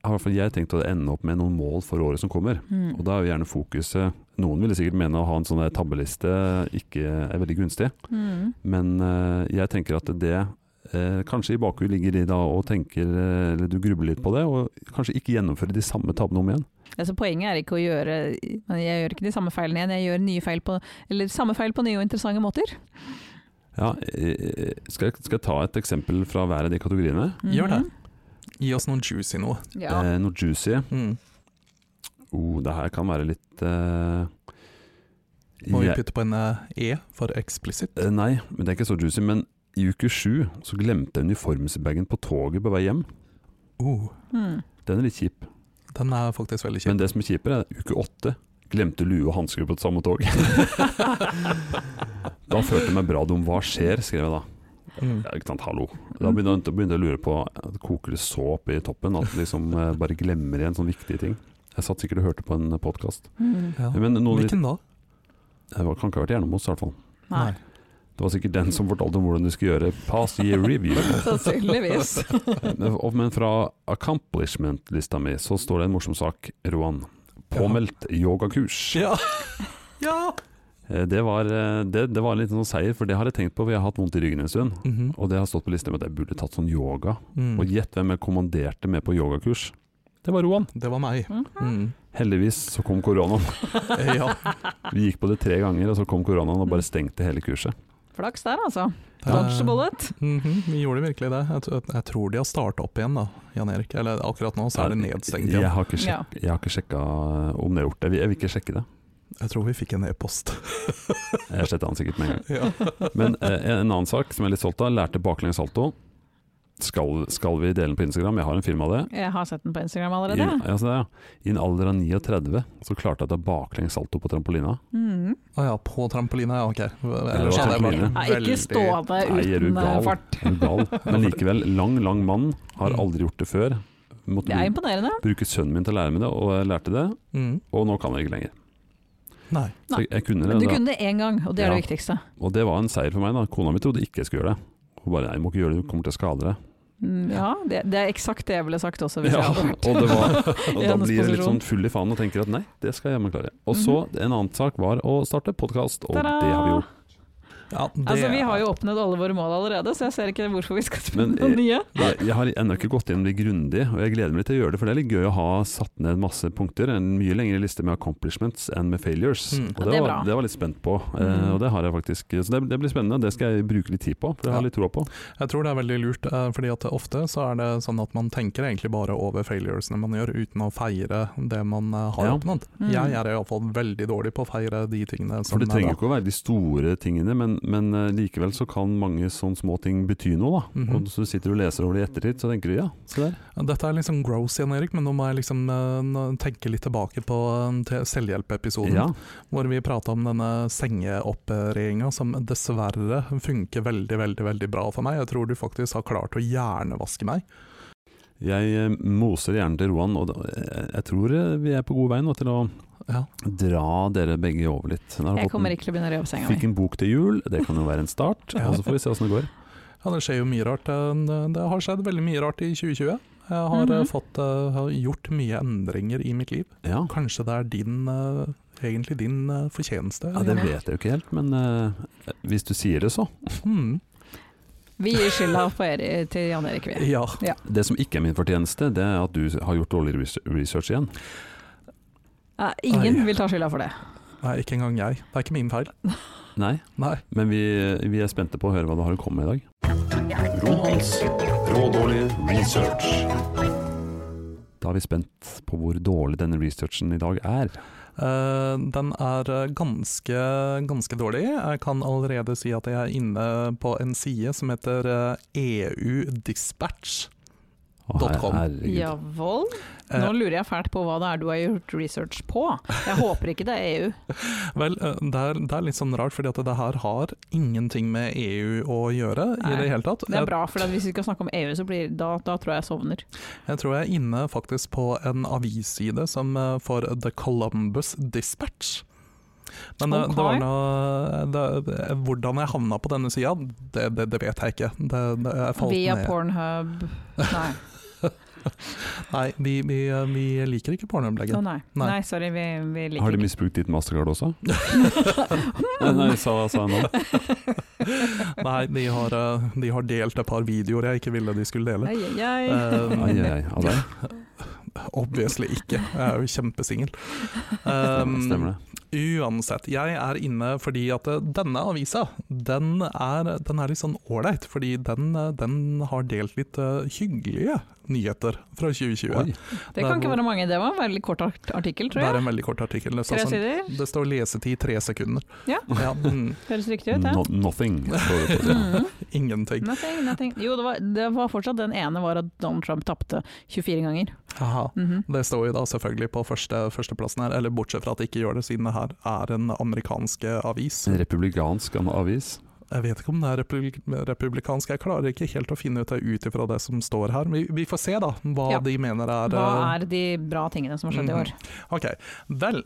B: har i hvert fall jeg tenkt å ende opp med noen mål for året som kommer.
A: Mm.
B: Og da er jo gjerne fokuset Noen ville sikkert mene å ha en sånn der tabbeliste ikke er veldig gunstig.
A: Mm.
B: Men eh, jeg tenker at det eh, kanskje i bakhuet ligger de da og tenker eh, Eller du grubler litt på det, og kanskje ikke gjennomfører de samme tabbene om igjen.
A: Altså, poenget er ikke å gjøre men Jeg gjør ikke de samme feilene igjen, jeg gjør nye feil på, eller samme feil på nye og interessante måter.
B: Ja, eh, skal, jeg, skal jeg ta et eksempel fra hver av de kategoriene?
A: Mhm.
C: Gjør det. gi oss noe juicy noe.
A: Ja.
B: Eh, noe juicy.
C: Mm.
B: Oh, det her kan være litt eh,
C: Må vi
B: jeg-
C: putte på en eh, E for explicit?
B: eh, Nei, men det er ikke så juicy. Men i uke sju så glemte jeg uniformsbagen på toget på vei hjem.
C: Oh.
A: Mm.
B: Den er litt kjip.
C: Den er faktisk veldig kjip.
B: Men det som er kjipere, er uke åtte. Glemte lue og hansker på et samme tog. da følte jeg meg bra dum. Hva skjer, skrev jeg da.
C: Mm.
B: Ja, ikke sant, hallo. Da begynte jeg, begynte jeg å lure på eh, Koker det så opp i toppen at du liksom eh, bare glemmer igjen sånne viktige ting? Jeg satt sikkert og hørte på en podkast.
A: Mm.
C: Ja.
B: Men noen litt,
C: Hvilken da?
B: det var- kan ikke ha vært Jernemos, i hvert fall.
A: Nei,
B: Det var sikkert den som fortalte om hvordan du skulle gjøre past year review.
A: sannsynligvis.
B: Og- Men fra accomplishment-lista mi så står det en morsom sak, Roan. Påmeldt yogakurs.
C: Ja. ja.
B: Eh, Det var, eh, det, det var en liten sånn seier, for det har jeg tenkt på. Vi har hatt vondt i ryggen en stund.
C: Mhm.
B: Og det har stått på lista med at jeg burde tatt sånn yoga.
C: Mm.
B: Og gjett hvem jeg kommanderte med på yogakurs? Det var Roan.
C: Det var meg.
A: Mhm.
C: Mm. Eh,
B: Heldigvis så kom koronaen.
C: Ja.
B: Vi gikk på det tre ganger, og så kom koronaen og bare stengte hele kurset.
A: Flaks der, altså.
C: Eh,
A: Dodge the bullet.
C: mhm, Vi gjorde virkelig det. Jeg, t- jeg tror de har starta opp igjen, da, Jan Erik. Eller akkurat nå så er det nedstengt
B: Jeg
C: igjen.
B: har ikke, sjek
A: Ja.
B: jeg har ikke sjekka om det er gjort det. Jeg vil ikke sjekke det.
C: Jeg tror vi fikk en e-post.
B: Jeg sletter han sikkert med en gang.
C: ja.
B: Men eh, en annen sak som jeg er litt stolt av, lærte baklengs salto. Skal, skal vi dele den på Instagram? Jeg har en film av det.
A: Jeg har sett den på Instagram
B: I,
A: allerede.
B: ja, se der, ja. I en alder av 39 så klarte jeg å ta baklengs salto på trampolina.
A: Mm.
C: Å ja, på trampolina, ja ok.
B: det
C: Ellers
B: var
C: hadde jeg
B: trampoline.
A: Nei,
C: vært
A: ikke
C: veldig
A: stående
B: Nei, er du
A: uten eh,
B: gal?
A: fart.
B: Er du gal? Men likevel, lang, lang mann. Har aldri gjort det før. Måtte
A: Det er
B: bru-
A: imponerende.
B: bruke sønnen min til å lære meg det, og jeg lærte det.
C: Mm.
B: Og nå kan jeg ikke lenger.
C: Nei.
B: Så jeg, jeg kunne det,
A: Men du
B: da.
A: kunne det én gang, og det er
B: Ja.
A: det viktigste.
B: og det var en seier for meg. da Kona mi trodde ikke jeg skulle gjøre det. Hun bare 'nei, du må ikke gjøre det, du kommer til å skade deg'.
A: Mm, Ja, det, det er eksakt det jeg ville sagt også, hvis
B: Ja,
A: jeg hadde hørt.
B: og, det var, og
A: I
B: da
A: hennes
B: blir jeg litt
A: posisjon. Mhm.
B: sånn full i faen og tenker at nei, det skal jeg jammen klare. Og så en annen sak var å starte podkast, og
A: Ta-da!
B: det har vi gjort.
C: Ja, det,
A: Altså, vi har jo oppnådd alle våre mål allerede, så jeg ser ikke hvorfor vi skal
B: Men,
A: finne noen
B: eh,
A: nye.
B: Jeg, jeg har ennå ikke gått gjennom de grundig, og jeg gleder meg til å gjøre det. For det er litt gøy å ha satt ned masse punkter. En mye lengre liste med accomplishments enn med failures.
C: Mm.
B: Og
A: Ja,
B: det,
A: det er
B: var,
A: bra.
B: det var jeg litt spent på, eh,
A: Mm.
B: og det har jeg faktisk. Så det, det blir spennende. Det skal jeg bruke litt tid på, for jeg
C: Ja.
B: har litt tro på.
C: Jeg tror det er veldig lurt, eh, fordi at ofte så er det sånn at man tenker egentlig bare over failuresene man gjør, uten å feire det man eh, har
B: Ja.
C: oppnådd.
A: Mm.
C: Jeg er iallfall veldig dårlig på å feire de tingene som
B: For det trenger jo
C: Sånn er
B: ikke å være de store tingene, men, men eh, likevel så kan mange sånne små ting bety noe. da.
C: Mhm.
B: Og så sitter du og leser over det i ettertid, så tenker du ja, se der.
C: bra. Dette er liksom gross, Jan Erik, men nå må jeg liksom eh, nå tenke litt tilbake på eh, til selvhjelpeepisoden.
B: Ja.
C: Hvor vi prata om denne sengeopereringa som dessverre funker veldig veldig, veldig bra for meg. Jeg tror du faktisk har klart å hjernevaske meg.
B: Jeg eh, moser hjernen til Roan, og da, jeg, jeg tror eh, vi er på god vei nå til å
C: Ja.
B: dra dere begge over litt. Hun har
A: Jeg
B: fått en-
A: kommer ikke til å begynne å re opp senga
B: Fikk
A: mi.
B: en bok til jul, det kan jo være en start.
C: Ja.
B: Og så får vi se åssen det går.
C: ja, det skjer jo mye rart. Eh, Det har skjedd veldig mye rart i 2020. Jeg har eh,
A: Mhm.
C: fått, eh, har gjort mye endringer i mitt liv.
B: Ja,
C: Kanskje det er din, eh, egentlig din eh, fortjeneste.
B: ja det vet jeg jo ikke helt, men eh, hvis du sier det, så.
C: Hmm.
A: Vi gir skylda på er, til Jan Erik, vi.
C: Ja.
B: Det som ikke er min fortjeneste, det er at du har gjort dårlig res- research igjen.
A: Nei, ingen
C: Ai.
A: vil ta skylda for det.
C: Nei, ikke engang jeg. Det er ikke min feil.
B: Nei,
C: Nei.
B: men vi, vi er spente på å høre hva du har å komme med i dag. Da er vi spent på hvor dårlig denne researchen i dag er.
C: Eh, den er eh, ganske, ganske dårlig. Jeg kan allerede si at jeg er inne på en side som heter eh, EU-dispatch.
B: Å, her-
C: .com.
B: herregud.
A: Ja vold.
C: Eh,
A: Nå lurer jeg fælt på hva det er du har gjort research på. Jeg håper ikke det er E EU.
C: Vel, eh, det er, det er litt sånn rart, fordi at det her har ingenting med EU å gjøre
A: Nei,
C: i det hele tatt.
A: Det er bra, for at hvis vi skal snakke om EU, så blir, da, da tror jeg jeg sovner.
C: Jeg, jeg tror jeg er inne faktisk på en avisside som eh, for The Columbus Dispatch. Men eh,
A: Ok.
C: det var noe, det, hvordan jeg havna på denne sida, det, det, det vet jeg ikke. Det, det, jeg falt
A: Via
C: ned.
A: Pornhub Nei.
C: Nei, vi, vi, eh, vi liker ikke pornoinnlegget.
A: Å, nei.
C: Nei.
A: nei, sorry, vi, vi
B: Har
A: liker
B: de
A: ikke
B: misbrukt ditt mastercard også? nei, nei, sa, sa han nå.
A: Sånn.
C: Nei, de har, eh, de har delt et par videoer jeg ikke ville de skulle dele.
A: Ai, ai, ai.
C: Um,
B: Ai, ai, ai. Av deg?
C: obviously ikke, jeg er jo kjempesingel.
B: Stemmer, stemmer
C: Um,
B: det.
C: uansett, jeg er inne fordi at eh, denne avisa, den er, den er litt sånn ålreit, fordi den, eh, den har delt litt eh, hyggelige nyheter fra 2020.
B: Oi.
A: Det kan ikke være mange, det var en veldig kort art- artikkel,
C: Det
A: tror
C: er
A: jeg.
C: en veldig kort artikkel.
A: Tre
C: Det står, sånn,
A: sider,
C: det står lesetid tre sekunder.
A: Ja.
C: mm,
A: høres riktig ut, det.
B: No, nothing. står det på det.
A: Mm.
C: ingenting.
A: Nothing, nothing. Jo, det var, det var fortsatt den ene var at Donald Trump tapte 24 ganger.
C: Haha.
A: Mhm.
C: Det står jo da selvfølgelig på første, førsteplassen her, eller bortsett fra at det ikke gjør det, siden det her er en amerikansk eh, avis.
B: En republikansk avis.
C: Jeg vet ikke om det er republik republikansk, jeg klarer ikke helt å finne ut det ut ifra det som står her. Vi, vi får se da, hva
A: Ja.
C: de mener er, eh,
A: Hva er de bra tingene som har skjedd i år?
C: Ok, vel.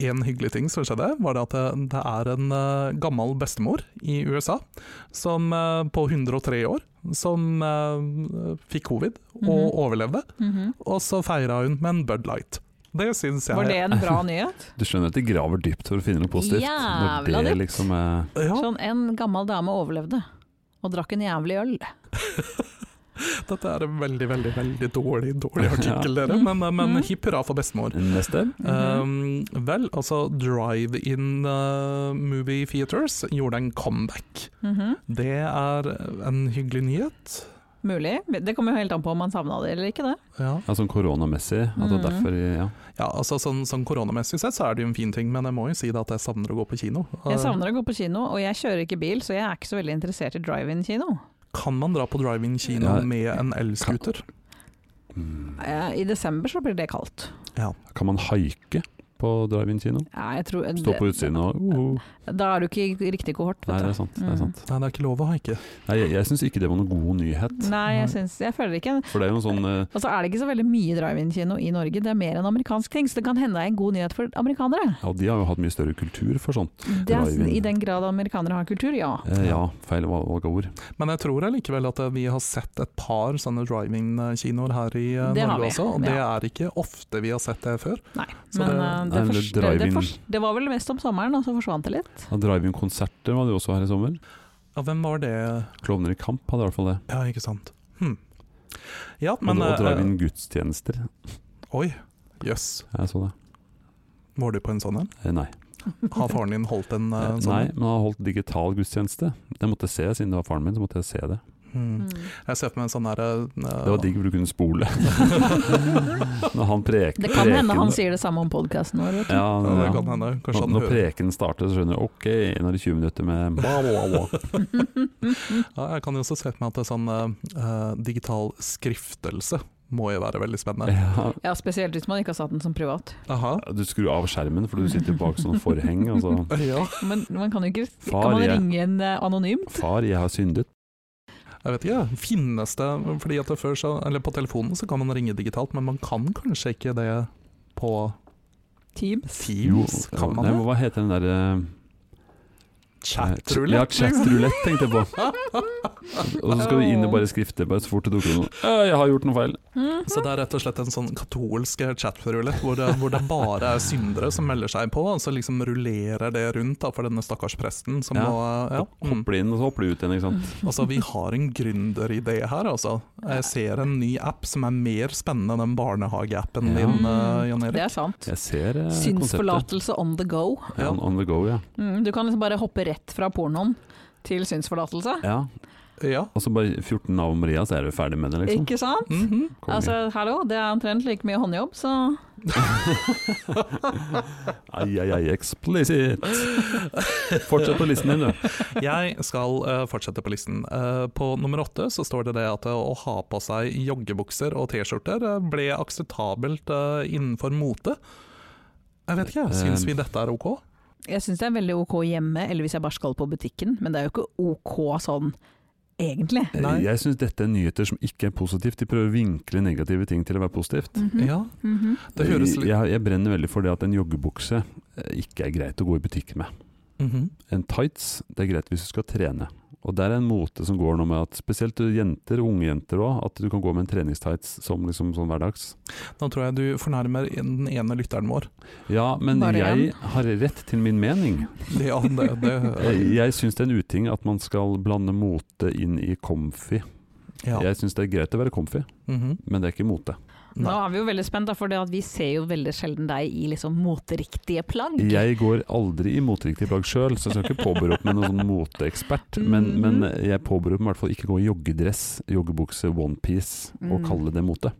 C: En hyggelig ting som skjedde, var det at det, det er en eh, gammel bestemor i USA som, eh, på 103 år som eh, fikk covid og
A: Mhm.
C: overlevde.
A: Mhm.
C: Og så feira hun med en Bud Light. Det syns jeg
A: Var det en bra nyhet?
B: Du skjønner at de graver dypt for å finne noe positivt? når
A: Jævla
B: det
A: dypt.
B: liksom er
C: Ja,
A: Sånn, en gammel dame overlevde. Og drakk en jævlig øl.
C: dette er en veldig, veldig veldig dårlig dårlig artikkel, dere. Men, eh, men
A: Mhm.
C: hipp hurra for bestemor.
B: Neste.
C: Um, vel, altså Drive-In eh, Movie Theaters gjorde en comeback.
A: Mhm.
C: Det er en hyggelig nyhet.
A: Mulig. Det kommer jo helt an på om man savna det eller ikke. det.
C: Ja.
B: Ja, sånn koronamessig. At det
A: Mhm.
B: er derfor ja.
C: Ja, altså sånn, sånn Koronamessig sett så er det jo en fin ting, men jeg må jo si det at jeg savner å gå på kino. Eh,
A: Jeg savner å gå på kino, og jeg kjører ikke bil, så jeg er ikke så veldig interessert i drive-in-kino.
C: Kan man dra på drive-in-kino
B: Ja.
C: med en elscooter?
B: Mm.
A: Eh, I desember så blir det kaldt.
B: Kan man haike på drive-in-kino?
A: Ja, jeg tror,
B: Stå på utsiden og uhu.
A: Da er du ikke i riktig kohort,
B: Nei,
A: vet du.
B: det er sant. Det er sant.
C: Nei, det er ikke lov å haike.
B: Nei, jeg jeg syns ikke det var noen god nyhet.
A: Nei, jeg,
C: Nei.
A: syns, jeg føler ikke
B: For det er jo en sånn eh,
A: Og så er det ikke så veldig mye drive-in-kino i Norge, det er mer en amerikansk ting. Så det kan hende det er en god nyhet for amerikanere.
B: Ja, de har jo hatt mye større kultur for sånt.
A: Det er,
B: Drive-in.
A: I den grad amerikanere har kultur, ja.
B: Eh, ja, feil valg valg av ord.
C: Men jeg tror allikevel at eh, vi har sett et par sånne drive-in-kinoer her i eh,
A: Det har
C: Norge
A: vi,
C: også, og det
A: ja.
C: er ikke ofte vi har sett det før.
A: Nei,
C: Så
A: men
C: det-
A: eh, det,
B: Nei, men det
A: fors- det, det,
B: drive-in-
A: fors- det var vel mest om sommeren, og så forsvant det litt.
B: Ja, Drive-in-konserter var det jo også her i sommer.
C: Ja, hvem var det?
B: Klovner i kamp hadde i hvert fall det.
C: Ja, ikke sant. Hm. Ja,
B: Og,
C: men
B: og
C: eh,
B: drive-in-gudstjenester.
C: Oi, jøss.
B: Jeg så det.
C: Var du på en sånn en?
B: Eh, Nei.
C: Har faren din holdt en eh,
B: Eh,
C: sånn?
B: Nei, men han har holdt digital gudstjeneste. Jeg måtte se, siden det var faren min, så måtte jeg se det.
C: Hmm.
A: Mm.
C: Jeg ser for meg en sånn derre
B: Det var digg, for du kunne spole. Når han preker
A: Det kan hende han
B: preken-
A: sier det samme om podkasten vår, vet du.
B: ja,
C: Ja, eh, det
B: ja.
C: kan hende. Kanskje
B: Når,
C: han
B: når
C: hører
B: preken starter, så skjønner du ok, nå er det 20 minutter med
C: Ja, jeg kan jo også se for meg at det er sånn eh, eh, digital skriftelse må jo være veldig spennende.
B: ja,
A: Ja, spesielt hvis man ikke har satt den som privat.
C: Aha.
B: Du skrur av skjermen, for du sitter bak sånn forheng. Og så
C: Ja,
A: Men man kan jo ikke
B: Far,
A: Kan man
B: jeg-
A: ringe en eh, anonym?
B: Far, jeg har syndet.
C: jeg vet ikke. Finnes det Fordi at det før så, eller på telefonen så kan man ringe digitalt, men man kan kanskje ikke det på
A: Teams?
C: Teams? Kan man
B: nei,
C: det?
B: Hva heter den derre Ja,
C: Chatroulette?
B: chatrulett tenkte jeg på. Og så skal du inn og bare skrifte bare så fort det dukker opp noe. «Eh, Jeg har gjort noe feil.
A: Mhm.
C: Så det er rett og slett en sånn katolsk chatroulette hvor, det- hvor det bare er syndere som melder seg på, og så liksom rullerer det rundt da, for denne stakkars presten som
B: Ja.
C: må ja. mm.
B: Hopper inn, og så hopper du ut igjen, ikke sant.
C: Altså, vi har en gründeridé her, altså. Jeg ser en ny app som er mer spennende enn den barnehageappen
B: Ja.
C: din,
A: Mm.
C: eh, Jan Erik.
A: Det er sant.
B: Jeg ser eh, konseptet.
A: Synsforlatelse on the go.
B: Ja, on- on the go, ja.
A: Mm, du kan liksom bare hoppe rett fra pornoen til synsforlatelse.
B: ja.
C: Ja.
B: Og så bare 14 navn Maria, så er du ferdig med det, liksom.
A: Ikke sant?
C: Mhm.
B: Konge.
A: Altså, hallo, det er omtrent like mye håndjobb, så
B: Ai, ai, ai, explicit! Fortsett på listen din, du.
C: Jeg skal eh, fortsette på listen. Eh, på nummer åtte så står det det at eh, å ha på seg joggebukser og T-skjorter eh, ble akseptabelt eh, innenfor mote. Jeg vet ikke, syns vi dette er ok?
A: jeg syns det er veldig ok hjemme, eller hvis jeg bare skal på butikken, men det er jo ikke ok sånn, egentlig.
C: Nei.
B: Jeg syns dette er nyheter som ikke er positivt. De prøver å vinkle negative ting til å være positivt.
C: Ja,
B: mm-hmm.
A: Mhm.
C: det høres litt
B: jeg, jeg brenner veldig for det at en joggebukse eh, ikke er greit å gå i butikk med.
C: Mhm.
B: En tights det er greit hvis du skal trene. Og der er en mote som går nå med at spesielt jenter, unge jenter òg, at du kan gå med en treningstights som liksom sånn hverdags.
C: Nå tror jeg du fornærmer den ene lytteren vår.
B: Ja, men
A: Bare
B: jeg har rett til min mening.
C: Ja, det,
B: Jeg,
C: det,
B: Eh, jeg syns det er en uting at man skal blande mote inn i comfy.
C: ja.
B: Jeg syns det er greit å være comfy,
C: Mhm.
B: men det er ikke mote.
A: Nå er vi jo veldig spent, da, for det at vi ser jo veldig sjelden deg i liksom moteriktige plagg.
B: Jeg går aldri i moteriktig plagg sjøl, så jeg skal ikke påberope meg noen sånn moteekspert. Men, men jeg påberoper meg i hvert fall ikke å gå i joggedress, joggebukse, onepiece og
A: Mm.
B: kalle det mote.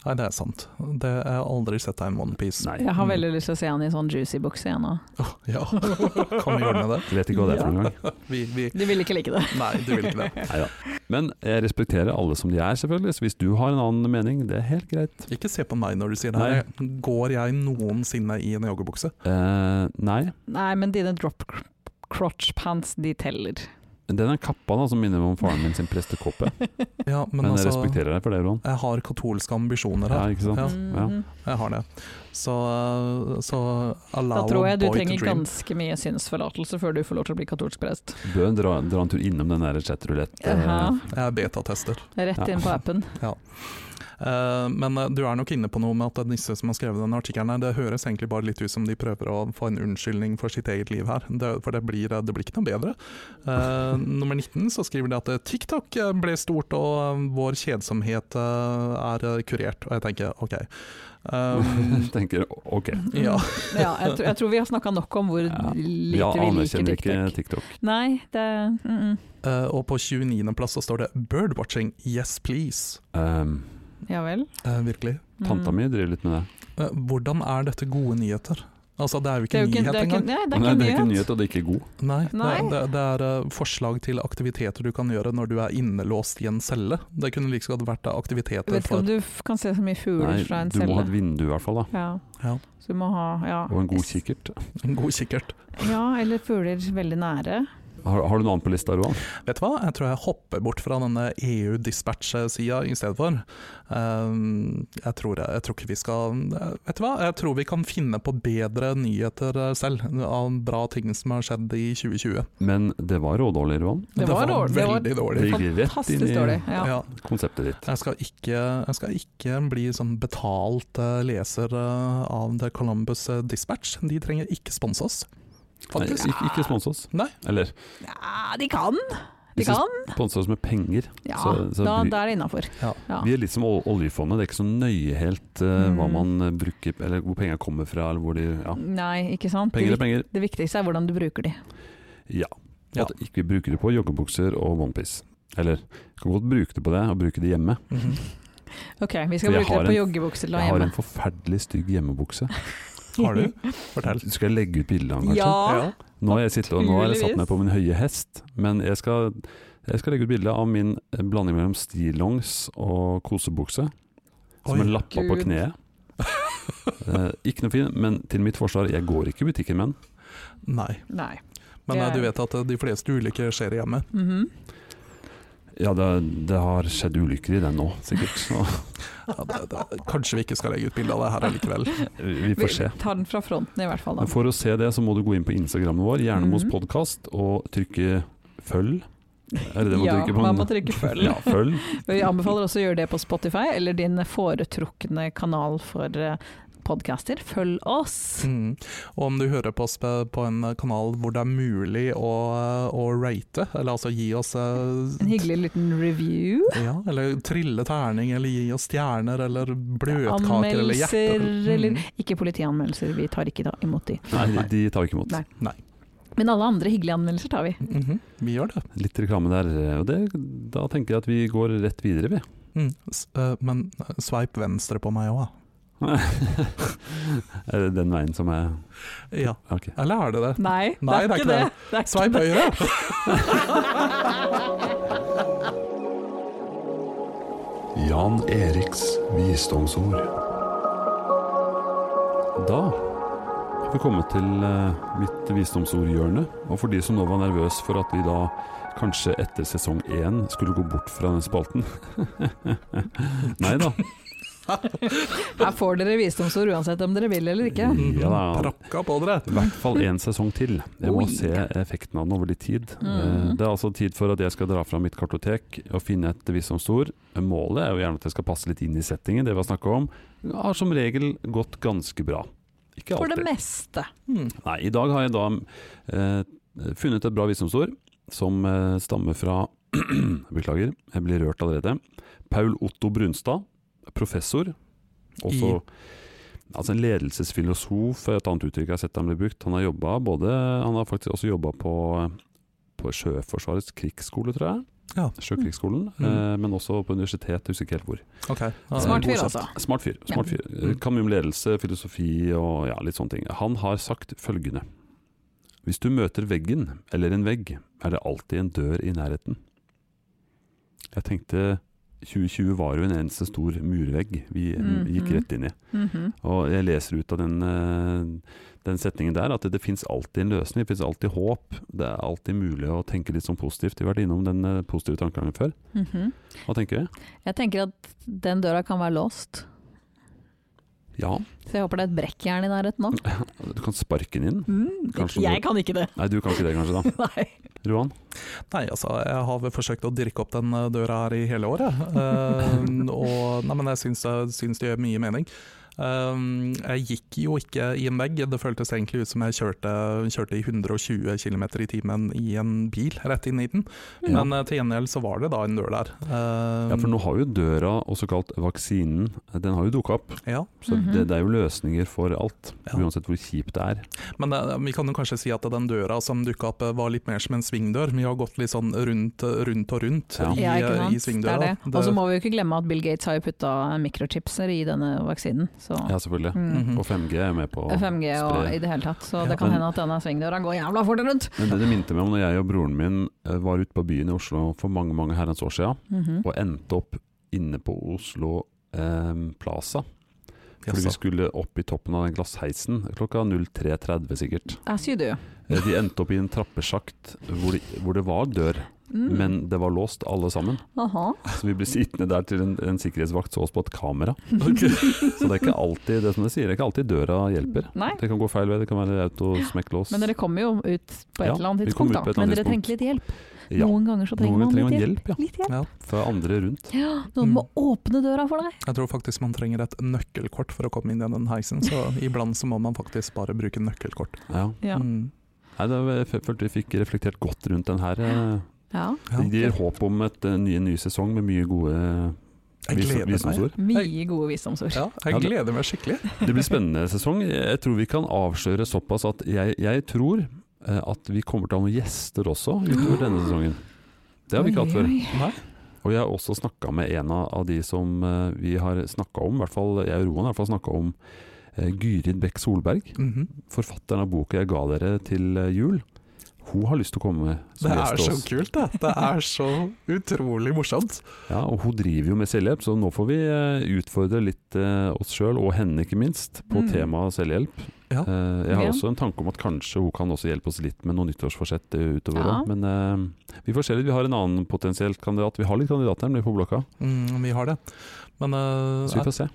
C: Nei, det er sant. Det jeg har aldri sett deg i en onepiece.
B: Nei,
A: Jeg har veldig lyst til å se han i sånn juicy bukse igjen nå.
C: Åh, ja, kan vi ordne det?
B: jeg vet ikke hva det er for noen gang.
C: Vi, vi.
A: Du vil ikke like det.
C: Nei, du vil ikke det.
B: Neida. Men jeg respekterer alle som de er, selvfølgelig. Så hvis du har en annen mening, det er helt greit.
C: Ikke se på meg når du sier det. her. Går jeg noensinne i en joggebukse?
B: Eh, nei.
A: Nei, men dine drop cr- crotch pants, de teller.
B: Den er kappa da, som minner meg om faren min sin prestekåpe.
C: Ja, men,
B: Men jeg
C: altså, Sånn
B: respekterer deg for det, Roan.
C: jeg har katolske ambisjoner
B: Ja,
C: her.
B: ikke sant? Ja.
A: Mhm.
C: Jeg har det. Så, så
A: Da
C: allow
A: tror
C: a
A: jeg du
C: boy to
A: trenger
C: dream.
A: ganske mye synsforlatelse før du får lov til å bli katolsk prest.
B: Bør dra, dra en tur innom den der chatrulett.
A: Jaha.
C: Jeg er betatester.
A: Rett inn på appen.
C: Eh, Men eh, du er nok inne på noe med at disse som har skrevet denne artikkelen, her, det høres egentlig bare litt ut som de prøver å få en unnskyldning for sitt eget liv her. Det, for det blir, det blir ikke noe bedre. Eh, nummer 19 så skriver de at eh, TikTok eh, ble stort og eh, vår kjedsomhet eh, er eh, kurert. Og jeg tenker ok. Um,
B: Tenker ok.
C: ja.
A: Mhm. Ja, jeg, tror, jeg tror vi har snakka nok om hvor
B: Ja.
A: lite
B: Vi
A: vi liker
B: anerkjenner ikke
A: TikTok.
B: TikTok.
A: Nei, det mm -mm.
C: Eh, og på 29. plass så står det 'birdwatching, yes please'.
B: Um,
A: Ja vel.
C: Eh, virkelig.
A: Mm.
B: Tanta mi driver litt med det.
C: Eh, hvordan er dette gode nyheter? Altså, det er
A: Det
C: jo ikke
A: er jo ikke,
C: nyhet
A: det er ikke,
C: engang.
A: nei, det er
B: Nei,
A: ikke
B: det er ikke
A: nyhet.
B: nyhet, og det er ikke god.
C: Nei,
A: Nei.
C: Det, det, det er eh, forslag til aktiviteter du kan gjøre når du er innelåst i en celle. Det kunne like så godt vært eh,
A: Jeg
C: aktiviteter
A: vet ikke om
C: for
A: du f- kan se så mye fugler
B: Nei,
A: fra en
B: du må ha et
A: celle.
B: vindu i hvert fall, da.
A: Ja.
C: Ja.
A: Så du må ha ja.
B: Og en god kikkert.
C: en god kikkert.
A: Ja, eller fugler veldig nære.
B: Har, har du noe annet på lista, Roan?
C: Vet du hva, jeg tror jeg hopper bort fra denne EU-dispatch-sida i stedet for. Ehm, jeg, tror jeg, jeg tror ikke vi skal eh, Vet du hva, jeg tror vi kan finne på bedre nyheter eh, selv av bra ting som har skjedd i 2020.
B: Men det var rådårlig, Roan.
A: Det var dårlig. Det var-
C: veldig
B: Det
C: dårlig.
B: gikk rett inn
A: Fantastisk
B: i
A: dårlig. Ja.
C: Ja.
B: konseptet ditt.
C: Jeg skal ikke, jeg skal ikke bli sånn betalt eh, leser eh, av The Columbus eh, Dispatch. De trenger ikke sponse oss,
B: Nei,
C: faktisk.
B: ikke, ikke spons oss.
C: Nei.
B: Eller
A: ja, de kan! De
B: Hvis det-
A: kan!
B: spons oss med penger.
A: Ja,
B: Så- så
A: da,
B: bry-
A: da er det innafor.
C: Ja.
A: Ja.
B: Vi er litt som ol- oljefondet, det er ikke så nøye helt eh, hva
A: Mm.
B: man eh, bruker, eller hvor penger kommer fra, eller hvor de Ja.
A: Nei, ikke sant.
B: Penger
A: Det,
B: er penger.
A: vik- det viktigste er hvordan du bruker de.
B: Ja.
C: Ja.
B: At ikke vi bruker det på joggebukser og onepiece. Eller kan godt bruke det på det, og bruke det hjemme.
C: Mhm.
A: Ok, vi skal
B: For jeg
A: bruke
B: har
A: det på
B: en-
A: joggebukser til å ha
B: Jeg har
A: hjemme.
B: en forferdelig stygg hjemmebukse.
C: Har du? Fortell.
B: Skal jeg legge ut bilde av den, kanskje?
A: Ja!
B: Nå har jeg, sittet, og nå har jeg satt
A: Naturligvis.
B: meg på min høye hest, men jeg skal, jeg skal legge ut bilde av min eh, blanding mellom stillongs og kosebukse, som
C: Oi.
B: er lappa på
A: Gud.
B: kneet. Eh, ikke noe fin, men til mitt forsvar, jeg går ikke i butikken med den.
C: Nei.
A: Nei.
C: Men
A: Det
C: eh,
A: er-
C: du vet at eh, de fleste ulykker skjer hjemme.
A: Mhm.
B: Ja, det, det har skjedd ulykker i den nå, sikkert. Så
C: Ja, det, det, kanskje vi ikke skal legge ut bilde av det her allikevel.
B: vi får se.
A: Vi tar den fra fronten i hvert fall, da.
B: Men for å se det, så må du gå inn på Instagrammen vår, Jernemos
A: Mhm.
B: podkast, og trykke følg. Er det det man
A: ja,
B: trykker på?
A: man må trykke følg.
B: Ja, følg.
A: Vi anbefaler også å gjøre det på Spotify, eller din foretrukne kanal for eh, podcaster. Følg oss!
C: Mm. Og om du hører på oss på på en eh, kanal hvor det er mulig å, eh, å rate, eller altså gi oss eh,
A: En hyggelig liten review.
C: Ja, eller trille terning, eller gi oss stjerner, eller bløtkaker, eller hjerter.
A: Anmeldelser, eller
C: Mm.
A: Ikke politianmeldelser, vi tar ikke da imot de.
B: Nei, de- de tar ikke imot.
A: Nei. Men alle andre hyggelige anmeldelser tar vi.
C: Mhm, Vi gjør det.
B: Litt reklame der, og det, da tenker jeg at vi går rett videre, vi.
C: Mm. S eh, men eh, sveip venstre på meg òg,
B: Er det den veien som er
C: da. Ja.
B: Ok.
C: Eller er det det?
A: Nei,
C: Nei,
A: det er ikke det. det. er
C: Sveip høyre!
D: Jan Eriks visdomsord.
B: Da har vi kommet til eh, mitt visdomsordhjørne. Og for de som nå var nervøs for at vi da kanskje etter sesong én skulle gå bort fra den spalten Nei da.
A: ikke- Her får dere visdomsord uansett om dere vil eller ikke.
B: Ja da.
C: Prakka på dere!
B: I hvert fall én sesong til. Jeg må
A: Oi.
B: se effekten av den over litt tid.
A: Mm.
B: Eh, Det er altså tid for at jeg skal dra fram mitt kartotek og finne et visdomsord. Målet er jo gjerne at det skal passe litt inn i settingen, det vi har snakka om. Det Har som regel gått ganske bra. Ikke
A: For
B: alltid.
A: det meste.
C: Mm.
B: Nei, i dag har jeg da eh, funnet et bra visdomsord som eh, stammer fra Beklager, jeg blir rørt allerede. Paul Otto Brunstad, professor Også, altså En ledelsesfilosof er et annet uttrykk jeg har sett han bli brukt. Han har, jobbet både, han har faktisk også jobba på, på Sjøforsvarets krigsskole, tror jeg.
C: Ja.
B: Sjøkrigsskolen,
C: Mm.
B: eh, men også på universitet, jeg husker ikke helt hvor.
C: Ok. Ja,
A: Smart
C: god
A: fyr,
C: kjeft.
A: altså.
B: Smart fyr. smart
A: Ja.
B: fyr. Eh, Kan mye om ledelse, filosofi og ja, litt sånne ting. Han har sagt følgende. Hvis du møter veggen eller en vegg, er det alltid en dør i nærheten. Jeg tenkte 2020 var jo en eneste stor murvegg vi mm, gikk
A: Mhm.
B: rett inn i.
A: Mhm.
B: Og jeg leser ut av den, eh, den setningen der at det, det finnes alltid en løsning, det finnes alltid håp. Det er alltid mulig å tenke litt sånn positivt. Vi har vært innom den eh, positive tankegangen før.
A: Mhm.
B: Hva tenker vi?
A: Jeg tenker at den døra kan være låst.
B: Ja,
A: Så jeg håper det er et brekkjern i nærheten òg.
B: du kan sparke den inn.
A: Mm,
B: Kanskje
A: jeg kan ikke det.
B: Nei, du kan ikke det kanskje da.
A: Nei.
B: Roan?
C: Nei, altså, jeg har vel forsøkt å dirke opp den eh, døra her i hele året. Eh, og nei, men jeg syns, jeg syns det gjør mye mening. Eh, jeg gikk jo ikke i en vegg, det føltes egentlig ut som jeg kjørte, kjørte i 120 km i timen i en bil rett inn i den.
B: Ja.
C: Men eh, til gjengjeld så var det da en dør der. Eh,
B: Ja, for nå har jo døra, også kalt vaksinen, den har jo dukka opp.
C: Eh, ja.
B: Så
A: Mhm.
B: det, det er jo løsninger for alt,
C: Ja.
B: uansett hvor kjipt det er.
C: Men eh, vi kan jo kanskje si at den døra som dukka opp, eh, var litt mer som en svingdør. Vi har gått litt sånn rundt, rundt og rundt
B: Ja.
C: i,
A: Ja, ikke
C: eh,
A: sant.
C: i svingdøra.
A: Det er det. Og så må vi jo ikke glemme at Bill Gates har jo putta mikrochipser i denne vaksinen. Så.
B: Ja, selvfølgelig.
A: Mm.
C: Mhm.
B: Og 5G er med på å
A: 5G og
B: spre.
A: i det hele tatt. Så
C: Ja,
A: det kan
B: men-
A: hende at denne svingdøra går jævla fort rundt.
B: Men det det minte meg om når jeg og broren min eh, var ute på byen i Oslo for mange mange herrens år siden,
A: Mhm.
B: og endte opp inne på Oslo eh, Plaza. Fordi vi
C: Jaså.
B: skulle opp i toppen av den glassheisen klokka 03.30 sikkert.
A: Jeg sier du.
B: Eh, De endte opp i en trappesjakt hvor, de, hvor det var dør,
A: Mm.
B: men det var låst alle sammen.
A: Aha.
B: Så vi ble sittende der til en, en sikkerhetsvakt så oss på et kamera. Så det er ikke alltid det er som du sier, det er ikke alltid døra hjelper.
A: Nei,
B: Det kan gå feil vei, det kan være autosmekklås.
A: men dere kommer jo ut på et
B: Ja,
A: eller annet
B: vi
A: tidspunkt,
B: kommer ut
A: da.
B: på et eller
A: Men
B: annet
A: dere
B: tidspunkt.
A: trenger litt hjelp.
B: ja,
A: Noen ganger så trenger
B: Noen
A: man litt
B: trenger man
A: hjelp.
B: hjelp, ja. Mm.
A: Litt hjelp.
C: Ja.
B: fra andre rundt.
A: Ja, noen må åpne døra for deg.
C: Jeg tror faktisk man trenger et nøkkelkort for å komme inn i den heisen, så iblant så må man faktisk bare bruke nøkkelkort.
B: Ja.
A: Ja.
C: Mm.
B: Nei, det var, jeg følte vi fikk reflektert godt rundt den her. eh.
A: Ja.
C: Ja.
B: Det gir håp om et, en, ny, en ny sesong med mye gode
C: Jeg
B: vis-
C: gleder meg.
B: visdomsord.
A: Mye gode visdomsord.
C: Ja,
B: Ja,
C: jeg
B: det-
C: gleder meg skikkelig.
B: Det blir spennende sesong. Jeg tror vi kan avsløre såpass at jeg, jeg tror eh, at vi kommer til å ha noen gjester også utover denne sesongen. Det har vi ikke hatt før.
A: Oi, oi.
B: Og jeg har også snakka med en av av de som eh, vi har snakka om, i hvert fall jeg og Roan har i hvert fall snakka om eh, Gyrid Bekk Solberg.
C: Mhm.
B: Forfatteren av boka jeg ga dere til eh, jul. Hun har lyst til å komme som
C: Det er
B: gjest til
C: så
B: oss.
C: kult, da. Det er så utrolig morsomt.
B: Ja, og hun driver jo med selvhjelp, så nå får vi eh, utfordre litt eh, oss sjøl, og henne ikke minst, på
A: Mm.
B: temaet selvhjelp.
C: Ja.
B: Eh, jeg har
A: Ja.
B: også en tanke om at kanskje hun kan også hjelpe oss litt med noen nyttårsforsett eh, utover
A: Ja.
B: òg, men eh, vi får se litt. Vi har en annen potensielt kandidat. Vi har litt kandidater nemlig på blokka,
C: Mm, vi har det. Men eh,
B: så vi får se.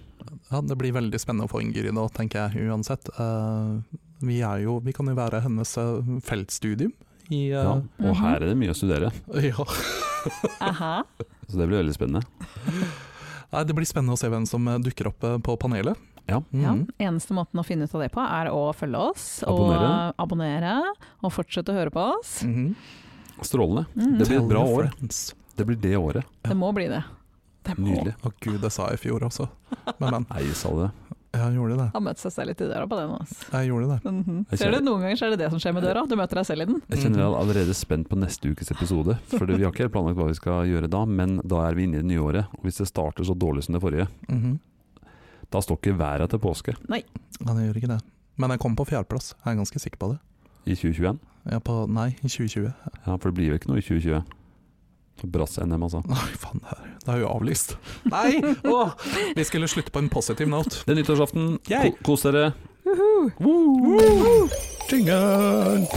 C: ja, det blir veldig spennende å få Ingrid nå, tenker jeg uansett. Eh, vi, er jo, vi kan jo være hennes eh, feltstudium i eh,
B: Ja.
A: Mhm.
B: Og her er det mye å studere.
C: ja.
A: Aha.
B: Så det blir veldig spennende.
C: Nei, Det blir spennende å se hvem som eh, dukker opp eh, på panelet.
B: Ja.
A: Ja.
C: Mhm.
A: Eneste måten å finne ut av det på, er å følge oss.
B: Abonnere.
A: Og abonnere, og fortsette å høre på oss.
C: Mhm.
B: Strålende.
A: Mm.
B: Det blir et bra
C: Tell your
B: år.
C: friends.
B: Det blir det året.
A: Det må bli det. det må.
B: Nydelig.
C: Å gud, det sa jeg i fjor også. Men, men.
B: Nei, sa det.
C: Jeg gjorde det.
A: Har møtt seg selv litt i døra på den. Altså.
C: Jeg gjorde det.
A: Mhm.
B: Jeg
A: Ser
B: kjenner-
A: du, Noen ganger så er det det som skjer med døra, du møter deg selv i den.
B: Jeg kjenner jeg er allerede spent på neste ukes episode. For vi har ikke helt planlagt hva vi skal gjøre da, men da er vi inne i det nye året. Og hvis det starter så dårlig som det forrige,
C: Mhm.
B: da står ikke været til påske
C: Ja, det gjør ikke det. Men jeg kom på fjerdeplass, jeg er ganske sikker på det.
B: i 2021.
C: Jeg er på, nei, i 2020.
B: Ja, For det blir vel ikke noe i 2020. Brass-NM, altså.
C: Nei, faen, det er- det er jo avlyst. Nei! Åh, vi skulle slutte på en positiv note.
B: Det er nyttårsaften.
C: Yay!
B: Ko kos dere.
C: Jingle!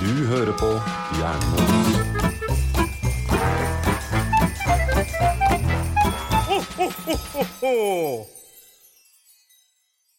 D: Du hører på Jernmodus.